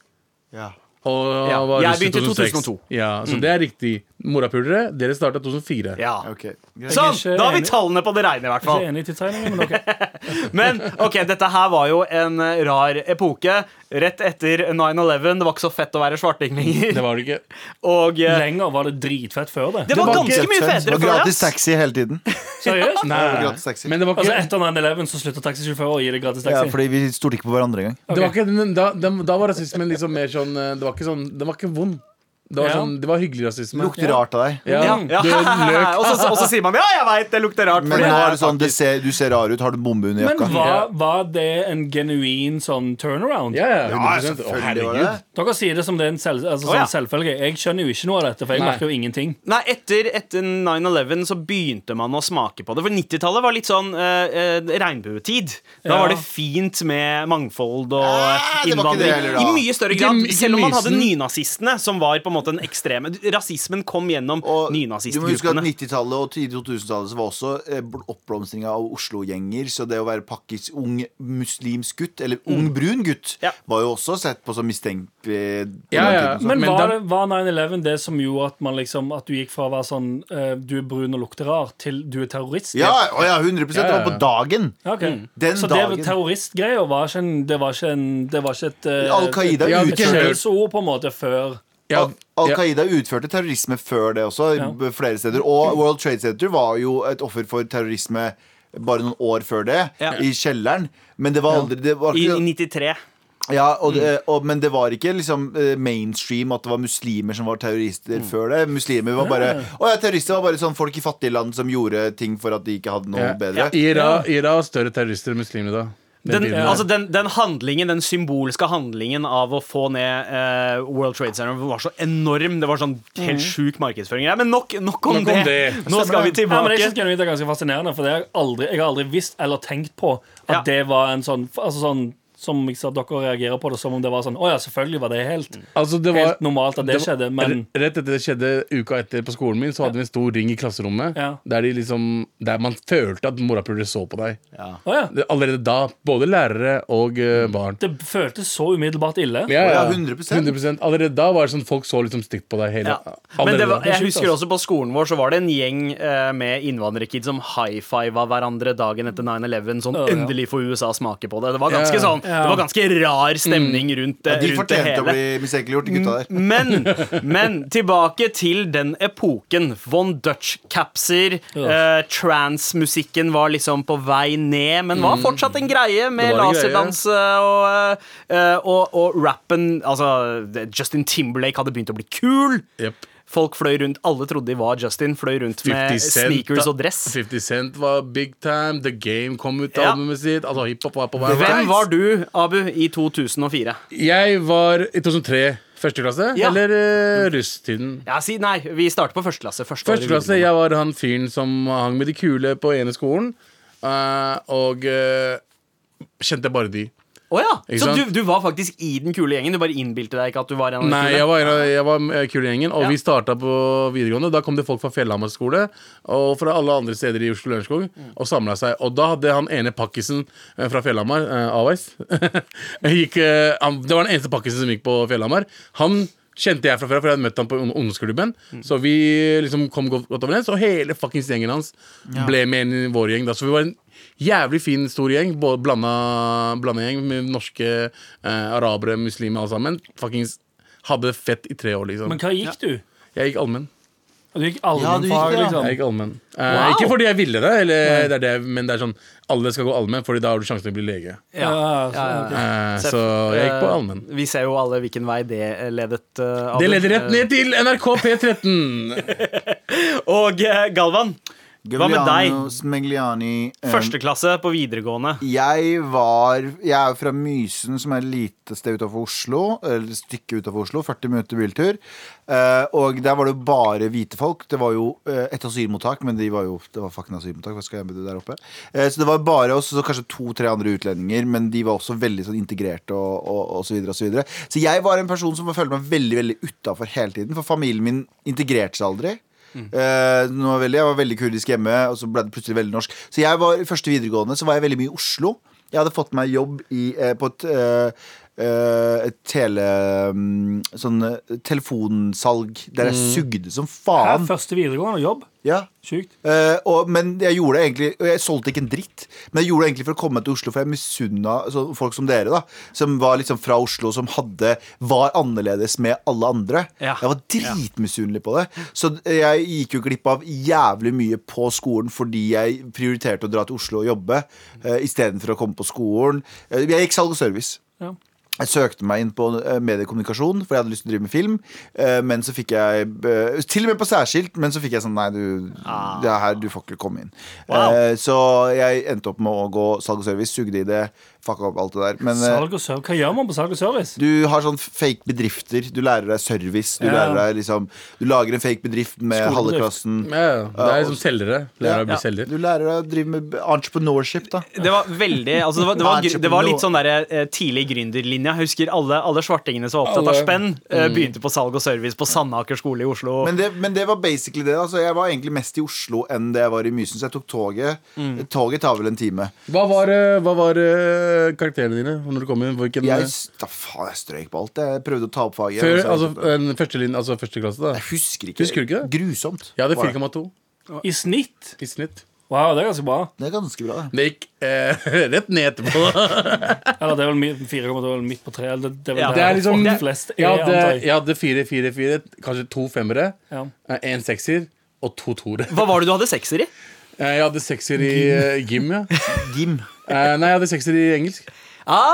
Ja. Og Ja, var jeg russ i begynte i 2006. 2002. Ja, så det er riktig. Morapulere, dere starta 2004. Mm. ja. Ok, greit. Sånn! Jeg er ikke Da har vi enig. tallene på det reine, i hvert fall. Ikke enig i tidsregningen, men ok. Men ok, dette her var jo en eh, rar epoke. Rett etter 9-11. Det var ikke så fett å være svarting lenger. Det var det ikke. <laughs> Og eh, Lenger var det dritfett før det. det var var ganske ikke mye Det fetere var før. gratis ass. taxi hele tiden. Seriøst? Nei, gratis taxi. men det var Altså ikke Etter 9-11 så slutta taxisjåfører å gi deg gratis Ja, taxi. fordi vi stolte ikke på hverandre engang. Det var ikke, den- da, den- da var rasismen liksom mer sånn eh, Det var ikke sånn, den var ikke vond. Det var, Ja. sånn, det var hyggelig rasisme. Lukter rart av deg. Ja, Ja. Du løk. <laughs> og, så, og så sier man ja, jeg veit det lukter rart. Men fordi nå jeg er det sånn, det ser, du ser rar ut. Har du bombe under Men jakka? var, var det en genuin sånn turnaround? Ja, ja, Ja, 100%. Å, selvfølgelig var det herregud. det. Dere sier det som det er en selv, altså, Å, ja. sånn selvfølge. Jeg skjønner jo ikke noe av dette, for jeg Nei. merker jo ingenting. Nei, etter, etter 9-11 så begynte man å smake på det. For 90-tallet var litt sånn eh, eh, regnbuetid. Da Ja. var det fint med mangfold og Ah, det var ikke det innvandring. heller, da. I mye større Ikke- grad. ikke Selv om man hadde mysen. nynazistene, som var på en måte en ekstreme Rasismen kom gjennom Og du må huske at nynazistgruppene. 90-tallet og tidlig 2000-tallet så var også eh, bl- oppblomstring av Oslo-gjenger. Så det å være pakkis ung muslimsk gutt, eller ung brun gutt, Ja. var jo også sett på som eh, mistenkelig. på Ja, den ja. tiden, så. Men Men var, da- det- var 9-11 det som gjorde at, man liksom, at du gikk fra å være sånn eh, Du er brun og lukter rar, til du er terrorist? Ja, å ja, 100 Det var på dagen. Ja, ok. Den Så dagen. det terroristgreia var ikke en Det var ikke, en, det var ikke et eh, Al Qaida Ja, et ikke utførte, selv. skjellsord, på en måte, før Ja, Al- Al ja. Qaida utførte terrorisme før det også, i Ja. b- flere steder. Og World Trade Center var jo et offer for terrorisme bare noen år før det, Ja. i kjelleren. Men det var aldri det var I, ikke, I 93. Ja, og det, Mm. og, men det var ikke liksom eh, mainstream at det var muslimer som var Mm. terrorister før det. Muslimer var bare Å ja, terrorister var bare sånn folk i fattige land som gjorde ting for at de ikke hadde noe Ja. bedre. Ira, Ira var større terrorister enn muslimer da. Den Den, tiden der. altså den, den handlingen, den symbolske handlingen av å få ned eh, World Trade Center var så enorm. Det var sånn helt sjuk markedsføring. Ja, men nok, nok, om, Nok om det. <laughs> det. Nå skal vi Mm. Ja, men tilbake. jeg synes genuint det er ganske fascinerende, for det har jeg, aldri, jeg har aldri visst eller tenkt på at Ja. det var en sånn, altså sånn Som jeg sa, dere reagerer på det som om det var sånn Å ja, selvfølgelig var det helt Altså, det var, Helt normalt at det var- skjedde, men- re- Rett etter det skjedde uka etter på skolen min, så hadde vi en stor ring i klasserommet Ja. der, de liksom, der man følte at morapulere så på deg. Å ja. Det- Allerede da. Både lærere og Mm. eh, barn. Det føltes så umiddelbart ille. Å ja, 100%. 100%. Allerede da var det sånn folk så liksom stygt på deg. Hele, Ja. Men allerede det var, da. jeg husker altså. også på skolen vår så var det en gjeng eh, med innvandrerkids som high-fiva hverandre dagen etter 9-11. Sånn ja. endelig får USA smake på det. Det var ganske Ja. sånn Det var ganske rar stemning rundt, det- Ja, de rundt det fortjente å hele. Mm, bli mistenkeliggjort, de gutta der. Men, men tilbake til den epoken. Von Dutch-capser. Eh, Trans-musikken var liksom på vei ned, men var fortsatt en greie med Mm. Det var en greie. laserdans eh, og, eh, og, og rappen Altså, Justin Timberlake hadde begynt å bli kul. Jep. Folk fløy rundt, Alle trodde de var Justin, fløy rundt 50 med Cent, sneakers da- og dress. 50 Cent var big time. The Game kom ut, Ja. albumet sitt. Altså, hiphop var på vei. Hvem var du, Abu, i 2004? Jeg var i 2003. Første klasse? Ja. Eller uh, russtiden? Ja, si, nei, vi starter på første klasse. Første året i Første klasse, videregående. jeg var han fyren som hang med de kule på ene skolen. eh, og eh, kjente bare de. Å ja. Ikke Så sant? du, du var faktisk i den kule gjengen? Du bare innbilte deg ikke at du var en av de Nei, kule? jeg var, en av- jeg var med kulegjengen, og Ja. vi starta på videregående. Da kom det folk fra Fjellhamar skole og fra alle andre steder i Oslo Lørenskog Mm. og samla seg. Og da hadde han ene pakkisen eh, fra Fjellhamar, eh, Awais <laughs> gikk, eh, han, Det var den eneste pakkisen som gikk på Fjellhamar. Han kjente jeg fra før, for jeg hadde møtt ham på ung- ungdomsklubben. Mm. Så vi liksom kom godt, godt overens, og hele fuckings gjengen hans ble med inn i vår gjeng. Da. Så vi var en jævlig fin, stor gjeng. både Blanda, blanda gjeng med norske, eh, arabere, muslimer, alle sammen. Fuckings hadde fett i tre år, liksom. Men hva gikk du? Jeg gikk allmenn. Du gikk Ja, du gikk allmennfag, det, ja. liksom. Jeg gikk allmenn. Eh, Ikke fordi jeg ville det, eller, det er det, men det er sånn alle skal gå allmenn, Fordi da har du sjansen til å bli lege. Ja, så, ja, ja. Eh, så jeg gikk på allmenn. Eh, Vi ser jo alle hvilken vei det eh, ledet. eh, Abu. <laughs> Det leder rett ned til NRK P13! Eh, Og eh, Galvan, Hva med deg? Giuliano Smegliani. eh, Første klasse på videregående. Jeg var Jeg er jo fra Mysen, som er et lite sted utenfor Oslo. Eller et stykke utenfor Oslo. 40 minutter biltur. Eh, og der var det jo bare hvite folk. Det var jo eh, et asylmottak, men de var jo, det var fucking asylmottak. Hva skal jeg med det der oppe? Eh, så det var bare oss og så kanskje to-tre andre utlendinger, men de var også veldig sånn integrerte og, og, og så videre og så videre. Så jeg var en person som følte meg veldig veldig utafor hele tiden, for familien min integrerte seg aldri. Eh, nå var jeg veldig, jeg var veldig kurdisk hjemme, og så ble det plutselig veldig norsk. Så jeg var, i første videregående så var jeg veldig mye i Oslo. Jeg hadde fått meg jobb i, eh, på et, eh, eh, et tele... mm, Sånn eh, telefonsalg der jeg sugde som Her, faen. første videregående jobb. Ja. Sjukt. Eh, og, men jeg gjorde det egentlig Og jeg solgte ikke en dritt, men jeg gjorde det egentlig for å komme meg til Oslo, for jeg misunna sånn folk som dere, da. Som var liksom fra Oslo, som hadde var annerledes med alle andre. Ja. Jeg var dritmisunnelig på det. Så jeg gikk jo glipp av jævlig mye på skolen fordi jeg prioriterte å dra til Oslo og jobbe eh, istedenfor å komme på skolen. Eh, Jeg gikk salg og service. Ja. Jeg søkte meg inn på eh, mediekommunikasjon, for jeg hadde lyst til å drive med film. eh, Men så fikk jeg eh, Til og med på særskilt, men så fikk jeg sånn Nei, du, det er her, du får ikke komme inn. Wow. Eh, Så jeg endte opp med å gå salg og service, sugde i det, fucka opp alt det der. Men eh, Salg og serv- Hva gjør man på salg og service? du har sånn fake bedrifter. Du lærer deg service. Du, Ja. lærer deg, liksom, du lager en fake bedrift med Skolebedrift. halve klassen. Ja, ja. det er liksom selgere. Lærer å bli selger. Du lærer deg å drive med entrepreneurship, da. Det var veldig altså det, var, det, var, gr- det var litt sånn der, eh, tidlig gründerlinja. Jeg Husker alle, alle svartingene som var opptatt av Alle. spenn, Mm. eh, begynte på salg og service på Sandaker skole i Oslo. Men det, men det var basically det. Altså, jeg var egentlig mest i Oslo enn det jeg var i Mysen, så jeg tok toget. Toget tar vel en time. Hva var, eh, hva var eh, karakterene dine når du kom inn? Hvilken, eh, Jeg, s- da faen, jeg strøyk på alt. Jeg prøvde å ta opp faget. før, og så- sånn altså, en første, linje, altså første klasse, da? jeg husker ikke. Husker du ikke det? Grusomt. Jeg hadde var det. 4,2 I snitt? i snitt. Wow, det er ganske bra. Det er ganske bra. det. Det gikk eh, <laughs> rett ned etterpå. Eller det er vel mi- 4,2 eller midt på tre. Eller det, det er vel Ja, der Det er liksom folk flest er, Jeg hadde, antar jeg. jeg hadde fire, fire, fire, kanskje to femmere, Ja. eh, en sekser og to toere. Hva var det du hadde sekser i? Eh, Jeg hadde sekser i eh, gym, ja. Gym. Eh, Nei, jeg hadde sekser i engelsk.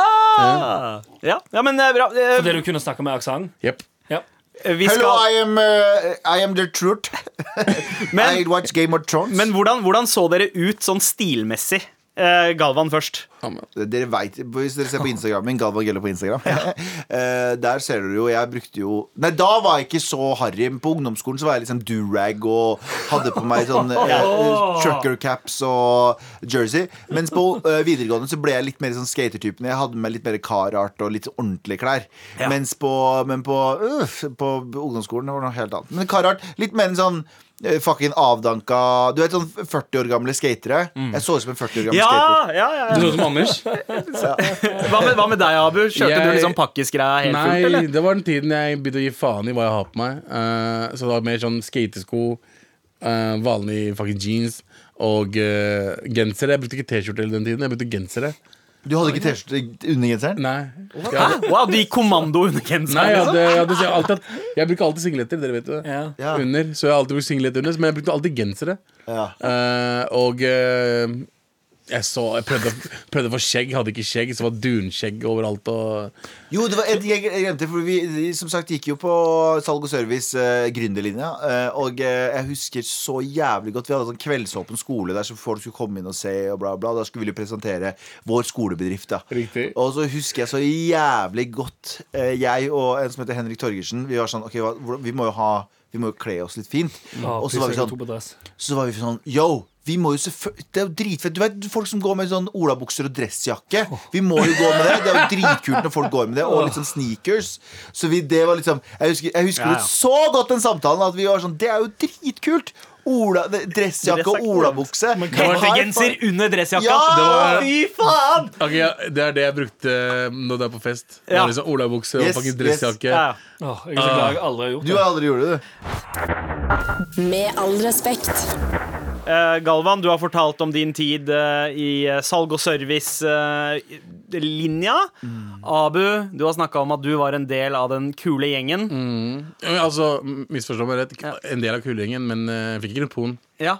Ah! Ja. ja, men det er bra. Eh, Fordi du kunne snakke med aksent? Jepp. Ja. Vi Hello, skal, I am, uh, I am the truth. I men, watch Game of Thrones. men hvordan, hvordan så dere ut sånn stilmessig? Eh, Galvan først. Dere vet, Hvis dere ser på Instagram min, Galvan Gelle på Instagram <laughs> eh, Der ser dere jo, jeg brukte jo Nei, da var jeg ikke så harry men På ungdomsskolen så var jeg liksom durag Og hadde på meg sånn eh, Trucker caps og jersey Mens på eh, videregående så ble jeg litt mer sånn skatertypen Jeg hadde med meg litt mer karart og litt ordentlige klær Mens på, men på, uff, på ungdomsskolen var det noe helt annet Men karart, litt mer en sånn eh, Fucking avdanka Du vet sånn 40 år gamle skatere Jeg så ut som en 40 år gammel Ja, skater ja, ja, Du ja. sånn så ut som Anders? Hva, med, hva med deg, Abu? Kjørte Jeg- du liksom pakkesgreia helt fullt, Nei, eller? det var den tiden jeg begynte å gi faen i hva jeg har på meg. Eh, så det var mer sånn skatesko, eh, vanlig fucking jeans og eh, gensere. Jeg brukte ikke T-skjorte hele den tiden. Jeg brukte gensere. Du hadde ikke T-skjorte under genseren? Nei. Jeg Hæ? hadde, Wow, de kommando under nei, genseren, jeg, liksom? hadde, jeg, hadde, jeg, har alltid, hatt- jeg bruker alltid singleter, dere vet jo det. Ja. Ja. Under, så jeg har alltid brukt singlet under, men jeg brukte alltid gensere. Ja. Eh, og eh, jeg så Jeg prøvde, prøvde å få skjegg, hadde ikke skjegg, så var dunskjegg overalt. Og, Jo, det var en ting jeg glemte, for vi de, som sagt gikk jo på salg og service, eh, gründerlinja. eh, og eh, jeg husker så jævlig godt Vi hadde sånn kveldsåpen skole der så folk skulle komme inn og se, og bla, bla. Da skulle vi presentere vår skolebedrift, da. Riktig. Og så husker jeg så jævlig godt eh, jeg og en som heter Henrik Torgersen, vi var sånn OK, hva, hvordan- vi må jo ha vi må jo kle oss litt fint. Ja, og så var vi sånn to på dress. Så var vi sånn Yo, vi må jo selvfølgelig Det er jo dritfett Du vet folk som går med sånn olabukser og dressjakke Vi må jo gå med det Det er jo dritkult når folk går med det Og litt sånn sneakers Så vi, det var liksom Jeg husker, jeg husker Ja, ja. så godt den samtalen At vi var sånn Det er jo dritkult Ola, dressjakke og Dressjakke. olabukse Hettegenser under dressjakka. Ja! Det var- Fy faen! Ok, ja, det er det jeg brukte eh, når det er på fest. Det Ja. var Liksom Olabukse Yes, og fucking dressjakke. Ja, ja. Åh, jeg er så glad jeg Ah. aldri har gjort Du det. har aldri gjort det du. Med all respekt. Eh, Galvan, du har fortalt om din tid eh, i eh, salg og service-linja. Mm. Abu, du har snakka om at du var en del av den kule gjengen. Mm. Ja, men Altså, m- Misforstå meg rett, ikke- en del av kulegjengen, men eh, jeg fikk ikke noe pon. Ja.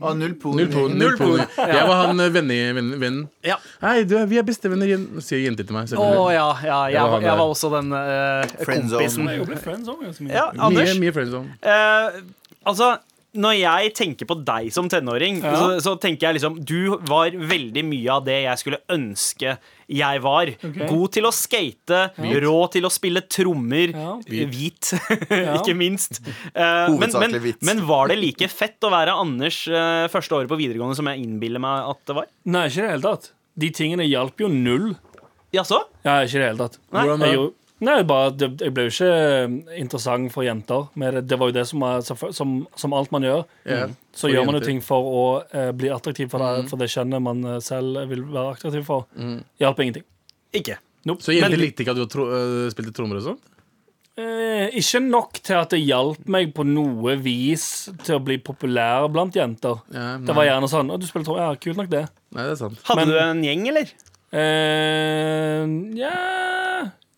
Å, Ah, null pol Null pon. Null Null pon. pon. Jeg var han eh, venn- vennen. vennen. ja. Hei, du, vi er bestevenner, jen- sier jenter til meg. Å ja, selvfølgelig. ja. Det var Jeg, han jeg der. var også den eh, Friendzone. kompisen. sånn, Jeg ble friends også ganske mye. Ja, Anders. Mye, mye friendzone. eh, altså, når jeg tenker på deg som tenåring, så, så tenker jeg liksom Du var veldig mye av det jeg skulle ønske jeg var. God til å skate, rå til å spille trommer. Ja. Hvit, <laughs> ikke minst. Eh, men, men, Hovedsakelig hvit. men var det like fett å være Anders eh, første året på videregående som jeg innbiller meg at det var? Nei, ikke i det hele tatt. De tingene hjalp jo null. Jaså? Ja, ikke i det hele tatt. Hvordan da? Jeg, gjorde- nei, bare, at det, jeg ble jo ikke eh, interessant for jenter. Med det. det var jo det som, var- som, som alt man gjør. Ja, Så for gjør man jo jenter. ting for å eh, bli attraktiv for Mm. det, for det kjønnet man eh, selv vil være attraktiv for. Hjalp ingenting. Ikke. Nope. Så jenter Men- likte ikke at du tro, øh, spilte trommer og sånn? Eh, ikke nok til at det hjalp meg på noe vis til å bli populær blant jenter. Ja, nei. det var gjerne sånn Å, du spiller trommer? Ja, kult nok, det. Nei, det er sant. Hadde Men- du en gjeng, eller? Eh, ja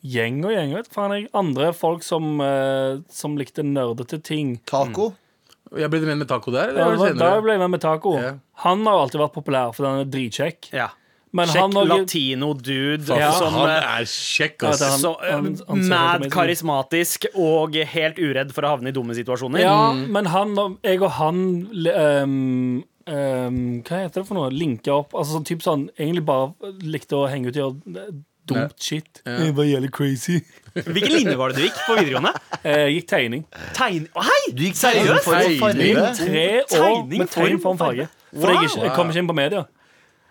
Gjeng og gjeng, vet faen jeg. Andre folk som, eh, som likte nerdete ting. Taco? Jeg ble venn med taco der, Ja, eller det var var, det da senere? ble jeg med med Taco. Ja. Han har alltid vært populær, for han er dritkjekk. Ja. Men Sjekk han også- latino dude Ja, som han eh, er kjekk, Ja, ass. det er han- så, eh, han- han ser helt mad amazing ut. karismatisk og helt uredd for å havne i dumme situasjoner. Ja, men han og jeg og han ehm, ehm, Hva heter det for noe? Linke opp. Altså sånn typ sånn Egentlig bare likte å henge ut og gjøre eh, Ja. dumt shit. Ja. Det var jævlig crazy. Mm. Hvilken linje var det du gikk på videregående? Eh, Jeg gikk tegning. Tegn... Å, Hei! Du gikk seriøst? for å farge. Tre år Tegning, med tegn form, form farge. For jeg, ikke, jeg kom ikke inn på media.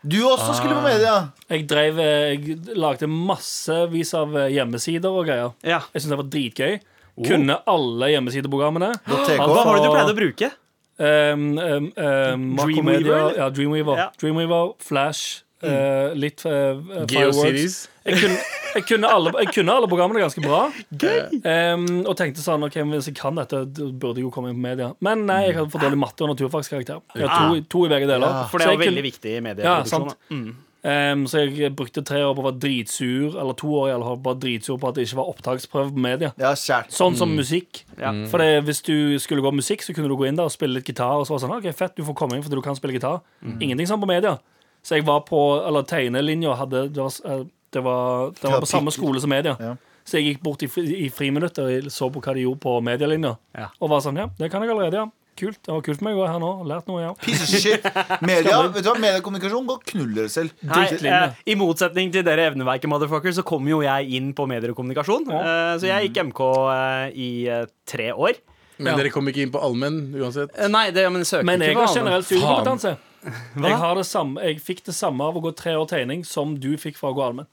Du også skulle på media. Jeg drev eh, Jeg lagde massevis av eh, hjemmesider og greier. Ja. Jeg syntes det var dritgøy. Kunne alle hjemmesideprogrammene. TK. Alt Hva var det du fra- pleide å bruke? Um, um, um, Dreamweaver, Dreamweaver? eller? Ja, Dreamweaver. Ja. Dreamweaver, Flash, eh, litt eh, eh, fireworks. Geocities. Jeg kunne, jeg, kunne alle, jeg kunne alle programmene ganske bra. Um, og tenkte sånn OK, men hvis jeg kan dette, da burde jeg jo komme inn på media. Men nei, jeg hadde for dårlig matte og naturfagskarakter. Jeg har to, to i begge deler. For det Så er jeg jo veldig kunne- viktig i Ja, medieproduksjon. sant. da. Mm. Um, så jeg brukte tre år på å være dritsur, eller to år i alle fall, bare dritsur på at det ikke var opptaksprøve på media. Ja, kjært. Sånn som musikk. Mm. Ja. For det, hvis du skulle gå musikk, så kunne du gå inn der og spille litt gitar. Og så var det sånn, ok, fett, du får komme inn fordi du kan spille gitar. Mm. Ingenting sånn på media. Så jeg var på eller tegnelinja. og Hadde, det, var, eh, det, var, det var på samme skole som media. Ja. Så jeg gikk bort i, fri- i friminutt og så på hva de gjorde på medialinja. Ja. Og var sånn, ja, det kan jeg allerede, ja. Kult. Det var kult for meg å være her nå. Lært noe, ja. Piece of <laughs> shit. Media, vet du hva, mediekommunikasjon går og knuller dere selv. Nei, Drittlinje. eh, I motsetning til dere evneverket, motherfucker, så kom jo jeg inn på medier og kommunikasjon. Eh, så jeg gikk MK eh, i eh, tre år. Men dere kom ikke inn på allmenn uansett? Eh, nei, det, men søker Men jeg ikke har på annet. generelt studiekompetanse. Jeg, har det samme, jeg fikk det samme av å gå tre år tegning som du fikk fra å gå allmenn.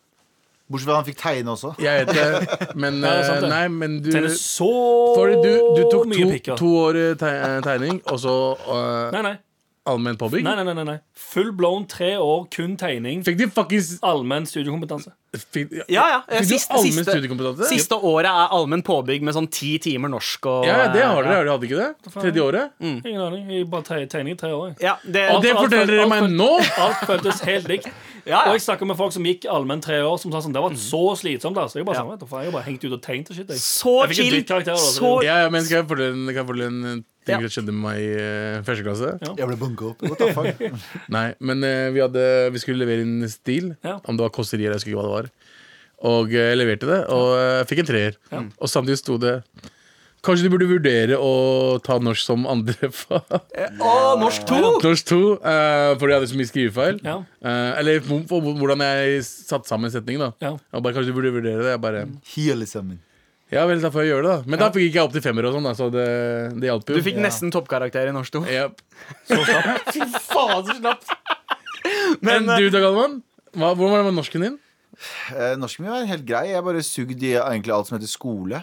Bortsett fra han fikk tegne også. Jeg <laughs> vet det, men Ja, det er sant eh, det. Nei, men du Tegner så Fordi du, du tok mye to, pikker. to år eh, te eh, tegning, og så eh, Nei, nei. allmenn påbygg? Nei, nei, nei, nei, nei. Full blown tre år, kun tegning. Fikk de fuckings Allmenn studiekompetanse. fikk, Ja, ja. eh, Fikk du Siste, allmenn siste, studiekompetanse? siste året er allmenn påbygg med sånn ti timer norsk og eh, Ja, ja, det har dere. Har dere hadde ikke det? Tredje året? Mm. Ingen aning. Jeg bare te tegning i tre år. jeg. Ja, det, Og Alt- det alt- forteller dere alt- meg alt- nå?! Alt føltes helt <laughs> likt. ja, Og ja. jeg snakker med folk som gikk allmenn tre år, som sa sånn Det Mm. var så slitsomt. Altså. Jeg bare sånn, vet du, faen, jeg bare hengt ut og tegnet og shit. Jeg. Så jeg fikk en chill. drittkarakter. Altså. Så- Ja, ja, men Skal jeg fortelle en, kan jeg fortelle en ting Ja. som skjedde med meg i eh, første klasse? Ja. Jeg ble bunka opp. What the fuck? <laughs> Nei, men eh, vi, hadde, vi skulle levere inn stil. Ja. Om det var kåseri eller jeg husker ikke hva det var. Og eh, jeg leverte det, og eh, jeg fikk en treer. Og samtidig sto det Kanskje du burde vurdere å ta norsk som andre <laughs> fag. Å, norsk to! Norsk 2, eh, fordi jeg hadde så mye skrivefeil. Ja. Eh, eller hvor- hvor- hvordan jeg satte sammen setningen. da Ja. Jeg bare, Kanskje du burde vurdere det. Jeg bare, Hele sammen. ja vel, da får jeg gjøre det, da. Men da fikk ikke jeg opp til femmer, og sånn da, så det, det hjalp jo. Du fikk nesten toppkarakter i norsk to. ja. Faen, så slapt! Men Men, eh, du da, Galvan? Hva, hvordan var det med norsken din? Eh, Norsken min var helt grei. Jeg bare sugd i egentlig alt som heter skole.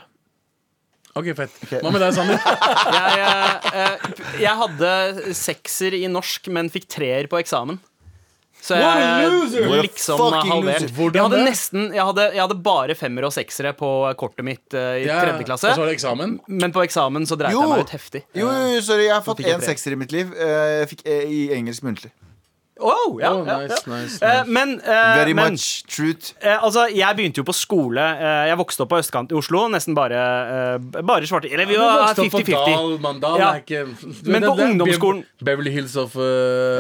Ok, fett. Hva med deg, Sander? jeg, eh, eh, <laughs> jeg hadde sekser i norsk, men fikk treer på eksamen. Så jeg What a liksom fucking halvert. loser. Hvordan Jeg hadde, det? nesten, jeg, hadde, jeg hadde bare femmere og seksere på kortet mitt eh, <laughs> i tredje klasse. Og så var det eksamen. Men på eksamen så dreit Jo. jeg meg ut heftig. Jo, jo, jo, sorry, jeg har fått fikk jeg én tre. sekser i mitt liv. Eh, Jeg fikk eh, i engelsk muntlig. Wow, ja, Oh, ja, nice, ja. nice, Eh, men, eh, Very men much truth. eh, altså, jeg begynte jo på skole. Eh, jeg vokste opp på østkant i Oslo. Nesten bare, eh, bare svarte. Eller vi Du var vokste opp på 50-50. Dal, mann. Dal Ja. er ikke Du Men vet, på det er Bev- ungdomsskolen- Beverly Hills of eh,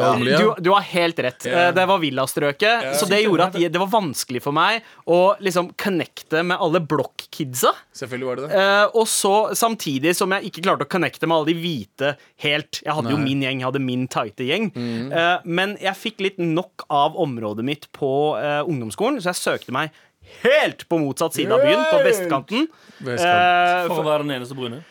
Holmlia. Du, du har helt rett. Ja. Eh, Det var villastrøket. Så det gjorde at jeg, det var vanskelig for meg å liksom connecte med alle blokkidsa. Selvfølgelig var det det. Eh, og så samtidig som jeg ikke klarte å connecte med alle de hvite helt. Jeg hadde jo min gjeng, jeg hadde min tighte gjeng. Mm. Eh, men jeg fikk litt nok av området mitt på eh, ungdomsskolen, så jeg søkte meg helt på motsatt side av byen, på vestkanten. Vestkant. Eh, For å være den eneste brune.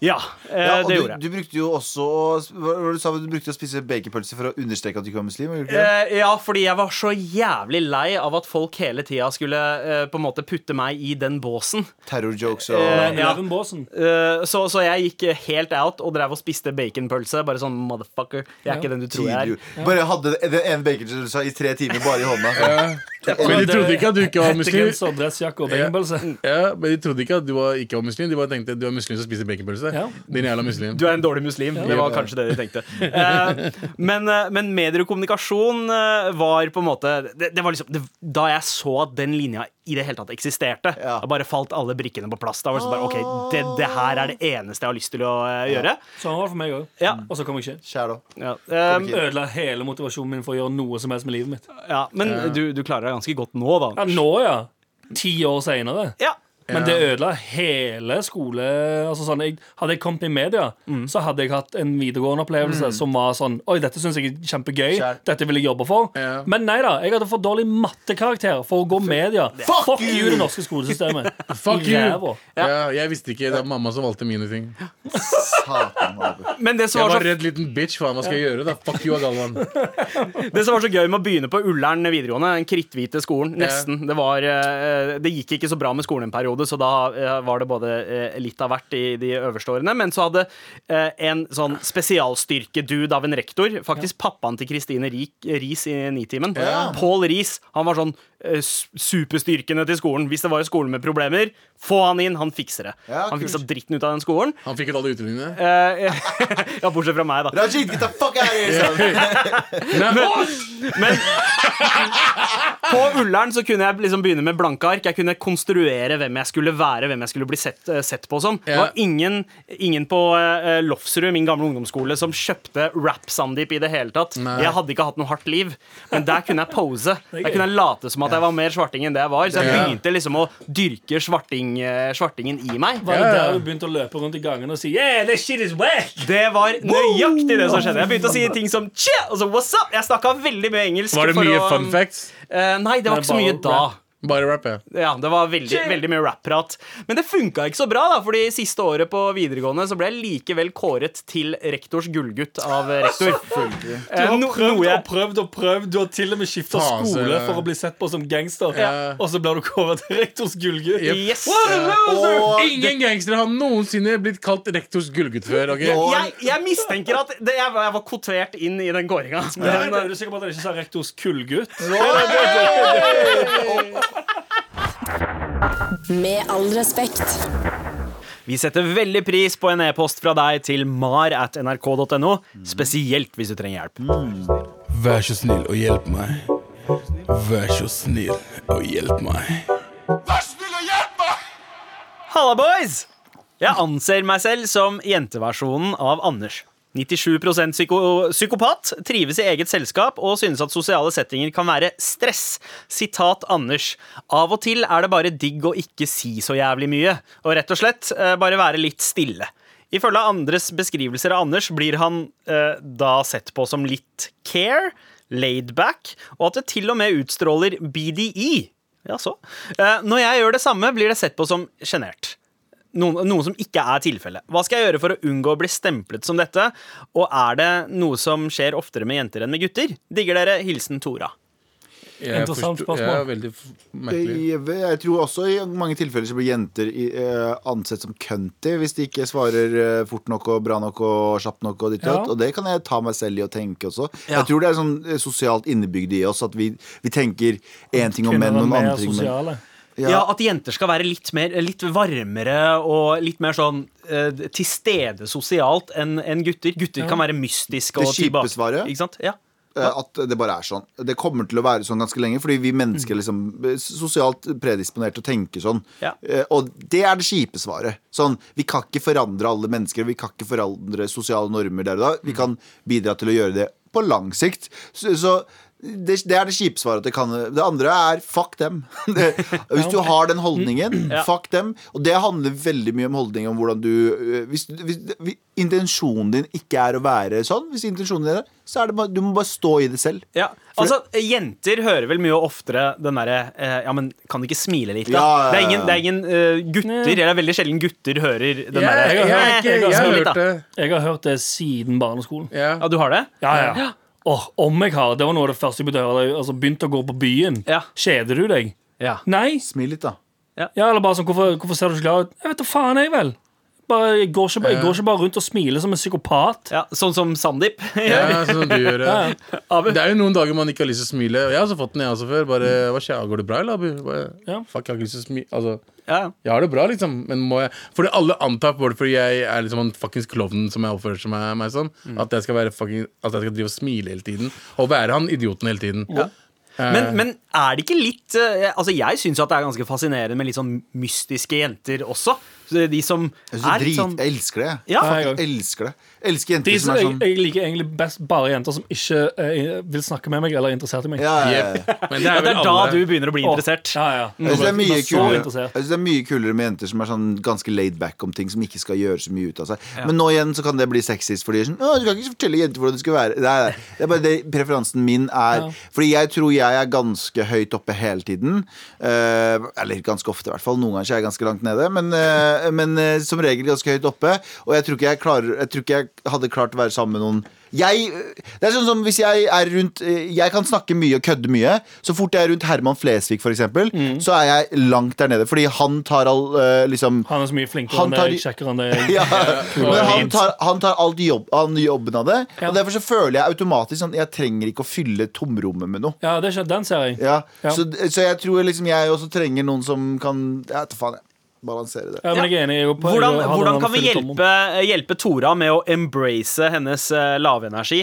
ja, eh, Ja, og det du, gjorde jeg. du brukte jo også å- hva var det du, sa, du brukte å spise baconpølse for å understreke at du ikke var muslim? gjorde du ikke det? Eh, ja, fordi jeg var så jævlig lei av at folk hele tida skulle eh, på en måte putte meg i den båsen. Terrorjokes og eh, ja. Eleven Båsen. Eh, så, så jeg gikk helt out og drev og spiste baconpølse. Bare sånn motherfucker. Jeg er ikke den du tror jeg er. tidligere. Bare hadde den ene baconpølsa i tre timer bare i hånda. eh, Men de trodde ikke at du ikke <laughs> var muslim. Hettegenser, dressjakke og baconpølse. Ja, men De trodde ikke at du var, ikke var muslim. De bare tenkte du er muslim som spiser baconpølse. Ja. Din jævla muslim. Du er en dårlig muslim. Det var kanskje det de tenkte. Eh, men, eh, men medier og kommunikasjon eh, var på en måte det, det var liksom, det, Da jeg så at den linja i det hele tatt eksisterte, Ja. da bare falt alle brikkene på plass. Da var det sånn bare, ok, det, det her er det eneste jeg har lyst til å eh, gjøre. Sånn var det for meg òg. Ja. Og så kom jeg ikke. Kjære da. Ja. eh, Ok. Ødela hele motivasjonen min for å gjøre noe som helst med livet mitt. ja, men du, du klarer deg ganske godt nå, Ja, da. nå, ja. Ti år seinere. Ja. Men det ødela hele skole altså sånn, jeg, Hadde jeg kommet i media, så hadde jeg hatt en videregående opplevelse som var sånn Oi, dette syns jeg er kjempegøy. Kjær. Dette vil jeg jobbe for. Ja. Men nei da. Jeg hadde for dårlig mattekarakter for å gå media. Fuck, you, you! det norske skolesystemet. Fuck I you! ræva. Ja, jeg visste ikke. Det var mamma som valgte mine ting. Satan, Abu. Men det som Jeg var så var redd liten bitch. Faen, hva skal jeg gjøre? da? Fuck you, Galvan. Det som var så gøy med å begynne på Ullern videregående, den kritthvite skolen, nesten Det, var, eh, det gikk ikke så bra med skolen en periode, så da eh, var det både eh, litt av hvert i de øverste årene. Men så hadde eh, en sånn spesialstyrkedude av en rektor, faktisk pappaen til Kristine Rik- Riis i Nitimen, Pål Riis, han var sånn eh, s- superstyrkene til skolen. Hvis det var en skole med problemer, få han inn, han fikser det. Ja, han kult. fiksa dritten ut av den skolen. Han fikk ut alle utelingene. Eh, <laughs> ja, bortsett fra meg, da. Rajid, get the fuck out of here! son. Men på Ullern så kunne jeg liksom begynne med blanke ark. Jeg kunne konstruere hvem jeg skulle være, hvem jeg skulle bli sett, eh, sett på som. Det Ja. var ingen, ingen på eh, Lofsrud, min gamle ungdomsskole, som kjøpte rap-Sandeep i det hele tatt. Nei. Jeg hadde ikke hatt noe hardt liv, men der kunne jeg <laughs> pose. er Der gøy. kunne jeg late som at jeg var mer svarting enn det jeg var. Så jeg Ja. begynte liksom å dyrke svarting, eh, svartingen i meg. Var det Ja, ja. der du begynte å løpe rundt i gangen og si Yeah, this shit is whack! Det var nøyaktig det som skjedde. Jeg begynte å si ting som tje, og så what's up. Jeg snakka veldig mye engelsk. Var det for mye å- fun facts? Eh, nei, det var Nei, ikke så mye bare da. rap. Bare rap, ja. Ja, Det var veldig, veldig mye rap-prat. Men det funka ikke så bra, da Fordi siste året på videregående Så ble jeg likevel kåret til rektors gullgutt av eh, rektor. Du Eh, har no, prøvd noe og jeg prøvd og prøvd. Du har til og med skifta Faen, så er skole det- for å bli sett på som gangster. Ja. Og så blir du kåret til rektors gullgutt. Yes! Og Ingen gangstere har noensinne blitt kalt rektors gullgutt før. ok? Nå- Jeg, jeg mistenker at det, jeg, var- jeg var kvotert inn i den kåringa. Men er du sikker på at han ikke sa rektors kullgutt? Med all respekt. Vi setter veldig pris på en e-post fra deg til mar at nrk.no, spesielt hvis du trenger hjelp. Vær så snill og hjelp meg. Vær så snill og hjelp meg. Halla, boys! Jeg anser meg selv som jenteversjonen av Anders. 97 psyko psykopat, trives i eget selskap og synes at sosiale settinger kan være stress. Sitat Anders. Av og til er det bare digg å ikke si så jævlig mye, og rett og slett eh, bare være litt stille. Ifølge andres beskrivelser av Anders blir han eh, da sett på som litt care, laid back, og at det til og med utstråler BDI. Ja, så. Eh, Når jeg gjør det samme, blir det sett på som sjenert. Noen, noe som ikke er tilfellet. Hva skal jeg gjøre for å unngå å bli stemplet som dette? Og er det noe som skjer oftere med jenter enn med gutter? Digger dere. Hilsen Tora. Interessant forstår- spørsmål. Ja, veldig f- merkelig. Jeg, jeg tror også i mange tilfeller så blir jenter i, eh, ansett som cunty hvis de ikke svarer eh, fort nok og bra nok og kjapt nok. Og, ditt, og Ja. datt. og det kan jeg ta meg selv i å tenke også. Ja. Jeg tror det er sånn eh, sosialt innebygd i oss at vi, vi tenker én ting om menn Kvinner og noen er andre mer ting. Men, sosiale. Ja. At jenter skal være litt, mer, litt varmere og litt mer sånn eh, til stede sosialt enn enn gutter. Gutter kan være mystiske Det og kjipe tilbake- svaret? Ikke sant? Ja. eh, at det bare er sånn. Det kommer til å være sånn ganske lenge, fordi vi Mm. mennesker er liksom eh, sosialt predisponert til å tenke sånn. Ja. Eh, Og det er det kjipe svaret. Sånn, vi kan ikke forandre alle mennesker, vi kan ikke forandre sosiale normer der og da. Mm. Vi kan bidra til å gjøre det på lang sikt. Så, så det, det er det kjipe svaret. at Det, kan, det andre er fuck dem. <laughs> Det, hvis du har den Mm. holdningen, fuck dem. Og det handler veldig mye om holdning om hvordan du øh, Hvis, hvis, hvis intensjonen din ikke er å være sånn, hvis intensjonen din er det, så er det bare, du må bare stå i det selv. Ja, altså Jenter hører vel mye oftere den derre eh, Ja, men kan du ikke smile litt, da? Ja, ja, ja. Det er ingen, det er ingen eh, gutter Eller veldig sjelden gutter hører den Ja, derre jeg, jeg, «Eh, har ikke- jeg smil har litt, hørt da». det. Jeg har hørt det siden barneskolen. Ja. Ja, du har det? Ja, ja. Åh, om jeg har Det var noe av det første jeg begynte å høre. da jeg, Altså, begynte å gå på byen. Ja. Kjeder du deg? Ja. Nei. Smil litt, da. Ja, eller bare sånn, hvorfor, hvorfor ser du så glad ut? Jeg vet da faen, jeg, vel. Bare, jeg, går ikke, bare- jeg går ikke bare rundt og smiler som en psykopat. ja Sånn som Sandeep. <laughs> Ja, sånn som du gjør det. Abu. Det er jo noen dager man ikke har lyst til å smile. Jeg har også fått den, jeg også før. Bare, hva skjer, Går det bra, eller, Abu? Bare, Ja. Fuck, jeg har ikke lyst til å smile. Altså, Ja. Eh. jeg har det bra, liksom. Men må jeg Fordi alle antar, både fordi jeg er liksom en fuckings klovn som jeg oppfører meg, meg sånn, at jeg skal være fucking At jeg skal drive og smile hele tiden. Og være han idioten hele tiden. Men, men er det ikke litt eh, Altså Jeg syns det er ganske fascinerende med litt sånn mystiske jenter også. Så det er De som Jeg, synes det er er litt drit, sånn jeg elsker det. jeg. Ja. Fuck, jeg elsker det. Jeg elsker jenter De som som, er jeg, sånn jeg liker egentlig best bare jenter som ikke eh, vil snakke med meg eller er interessert i meg. ja, ja, ja. Jep. Men det ja, er Det vel er da alle. du begynner å bli Åh, interessert. Ja, ja. Jeg synes det er mye så kulere Jeg interessert. synes det er mye kulere med jenter som er sånn ganske laid back om ting som ikke skal gjøre så mye ut av seg. Men nå igjen så kan det bli sexist, fordi sånn, «Å, du kan ikke fortelle jenter hvordan det skal være. Nei, nei. Det er bare det preferansen min er. Fordi jeg tror jeg er ganske høyt oppe hele tiden. Eh, eller ganske ofte, i hvert fall. Noen ganger så er jeg ganske langt nede, men, eh, men eh, som regel ganske høyt oppe. Og jeg tror ikke jeg, klarer, jeg, tror ikke jeg hadde klart å være sammen med noen jeg, det er sånn som hvis jeg er rundt eh, Jeg kan snakke mye og kødde mye. Så fort jeg er rundt Herman Flesvig, for eksempel, så er jeg langt der nede. Fordi han tar all eh, <laughs> liksom Han er så mye flinkere Han enn tar- deg, kjekkere enn <laughs> deg. ja, men han fint. tar, han tar alt jobb, han jobben av det. Ja. Og derfor så føler jeg automatisk sånn Jeg trenger ikke å fylle tomrommet med noe. Ja, det er ikke, den ser jeg. Ja. Ja. Så, så jeg tror liksom jeg også trenger noen som kan Jeg vet da faen, jeg. Balansere det. Ja, men jeg er enig. Jeg er på, Hvordan, jeg har hvordan den kan vi fylle tomrom. hjelpe, eh, hjelpe Tora med å embrace hennes eh, lavenergi?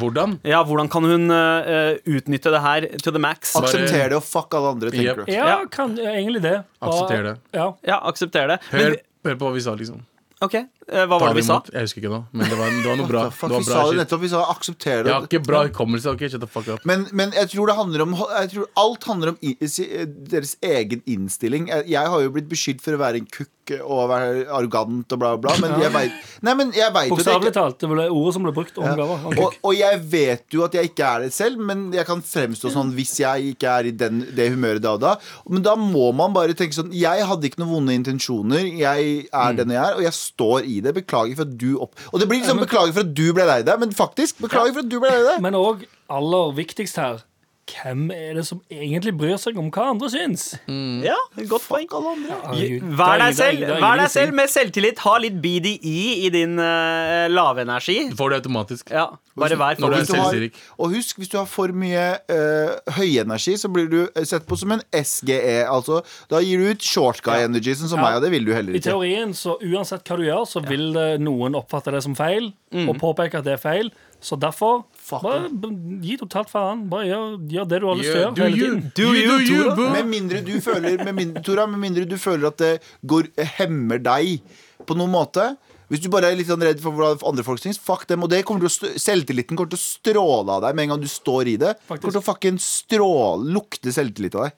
Hvordan? Ja, hvordan kan hun eh, utnytte det her to the max? Bare- Akseptere det og fuck alle andre, tenker Jep. du. Ja, kan, ja, egentlig det. Bare- Aksepter det. Ja. Ja, akseptere det. Men, Hør, hør på hva vi sa, liksom. ok, eh, hva Ta var det vi sa? imot. Jeg husker ikke nå, men det var, det var noe bra. Fuck, det var vi bra sa det shit. nettopp. Vi sa akseptere Jeg det. har ikke bra hukommelse. ok? Shut the fuck up. Men, men jeg tror det handler om jeg tror Alt handler om i- si- eh, deres egen innstilling. Jeg, jeg har jo blitt beskyldt for å være en kukk og å være arrogant og bla, bla, bla. Men jeg veit Nei, men jeg vet jo det Bokstavelig ikke. talt. Det var det ordet som ble brukt om gaver. Ok. Og, og jeg vet jo at jeg ikke er det selv, men jeg kan fremstå sånn hvis jeg ikke er i den, det humøret da og da. Men da må man bare tenke sånn Jeg hadde ikke noen vonde intensjoner. Jeg er Mm. den jeg er, og jeg står i det. Beklager for at du opp... Og det blir liksom beklager for at du ble lei deg, men faktisk, beklager for at du ble lei deg. Men òg, aller viktigst her, hvem er det som egentlig bryr seg om hva andre syns? Mm. Ja, godt poeng. Herregud. Mm. Vær deg Det er ingen- selv, det er ingen vær deg å si. selv med selvtillit. Ha litt BDI i din eh, lavenergi. Du får det automatisk. Ja, bare vær Når for du er Hvis du har, selvsikker. og husk, hvis du har for mye eh, høyenergi, så blir du eh, sett på som en SGE. Altså, da gir du ut short guy energy, sånn som Ja. meg, og det vil du heller I ikke. teorien, så uansett hva du gjør, så vil eh, noen oppfatte det som feil, Mm. og påpeke at det er feil. Så derfor, bare b- gi totalt faen. Bare gjør, gjør det du har lyst til å Yeah, gjøre do hele you, tiden. do you, do you, boo. Med mindre du føler, med mindre, Tora, med mindre du føler at det går, hemmer deg på noen måte. Hvis du bare er litt sånn redd for hvordan andre folk syns, fuck dem. Og det kommer til å stå- selvtilliten kommer til å stråle av deg med en gang du står i det. Faktisk. Kommer til å fucking stråle, lukte selvtillit av deg.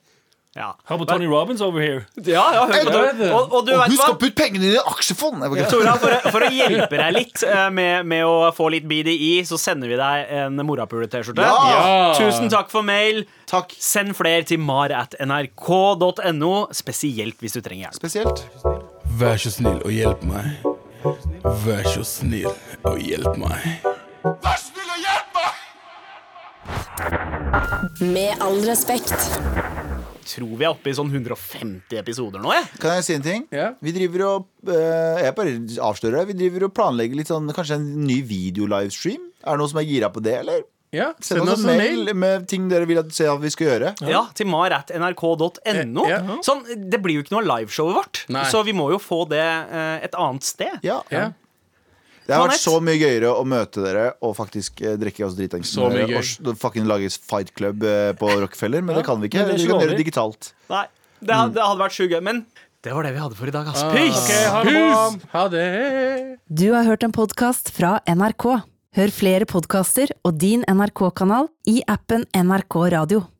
Ja, Hør på Tony Robins over here. ja, ja hør på Jeg- det. Og, og du Og vet husk hva? å putte pengene dine i aksjefond! Jeg bare- Tora, for, å- for å hjelpe deg litt eh, med, med å få litt BDI, så sender vi deg en morapule-T-skjorte. Ja! Tusen takk for mail. Takk. Send flere til mar at nrk.no, spesielt hvis du trenger hjelp. Spesielt. Vær så snill og hjelp meg. Vær så snill og hjelp meg. Med all respekt. Tror vi er oppe i sånn 150 episoder nå, jeg. Kan jeg si en ting? Ja. Vi driver og eh, Jeg bare avslører det. Vi driver og planlegger litt sånn kanskje en ny videolivestream. Er det noen som er gira på det, eller? Ja, Send oss en mail, med ting dere vil at, se at vi skal gjøre. Ja, til mar at nrk.no. Ja. Sånn, det blir jo ikke noe av liveshowet vårt, Nei. så vi må jo få det eh, et annet sted. Ja. Ja. Det har vært Jeanette? så mye gøyere å møte dere og faktisk eh, drikke oss dritings. Så mye med dere, gøy. Og s- fucking lage fight club eh, på Rockefeller, men det kan vi ikke. men det er Vi ikke kan gjøre lovlig. det digitalt. Nei, det, had- det hadde vært sjukt gøy, men det var det vi hadde for i dag, ass. Peace! Ok, ha det bra. Ah. Ha det! Du har hørt en podkast fra NRK. Hør flere podkaster og din NRK-kanal i appen NRK Radio.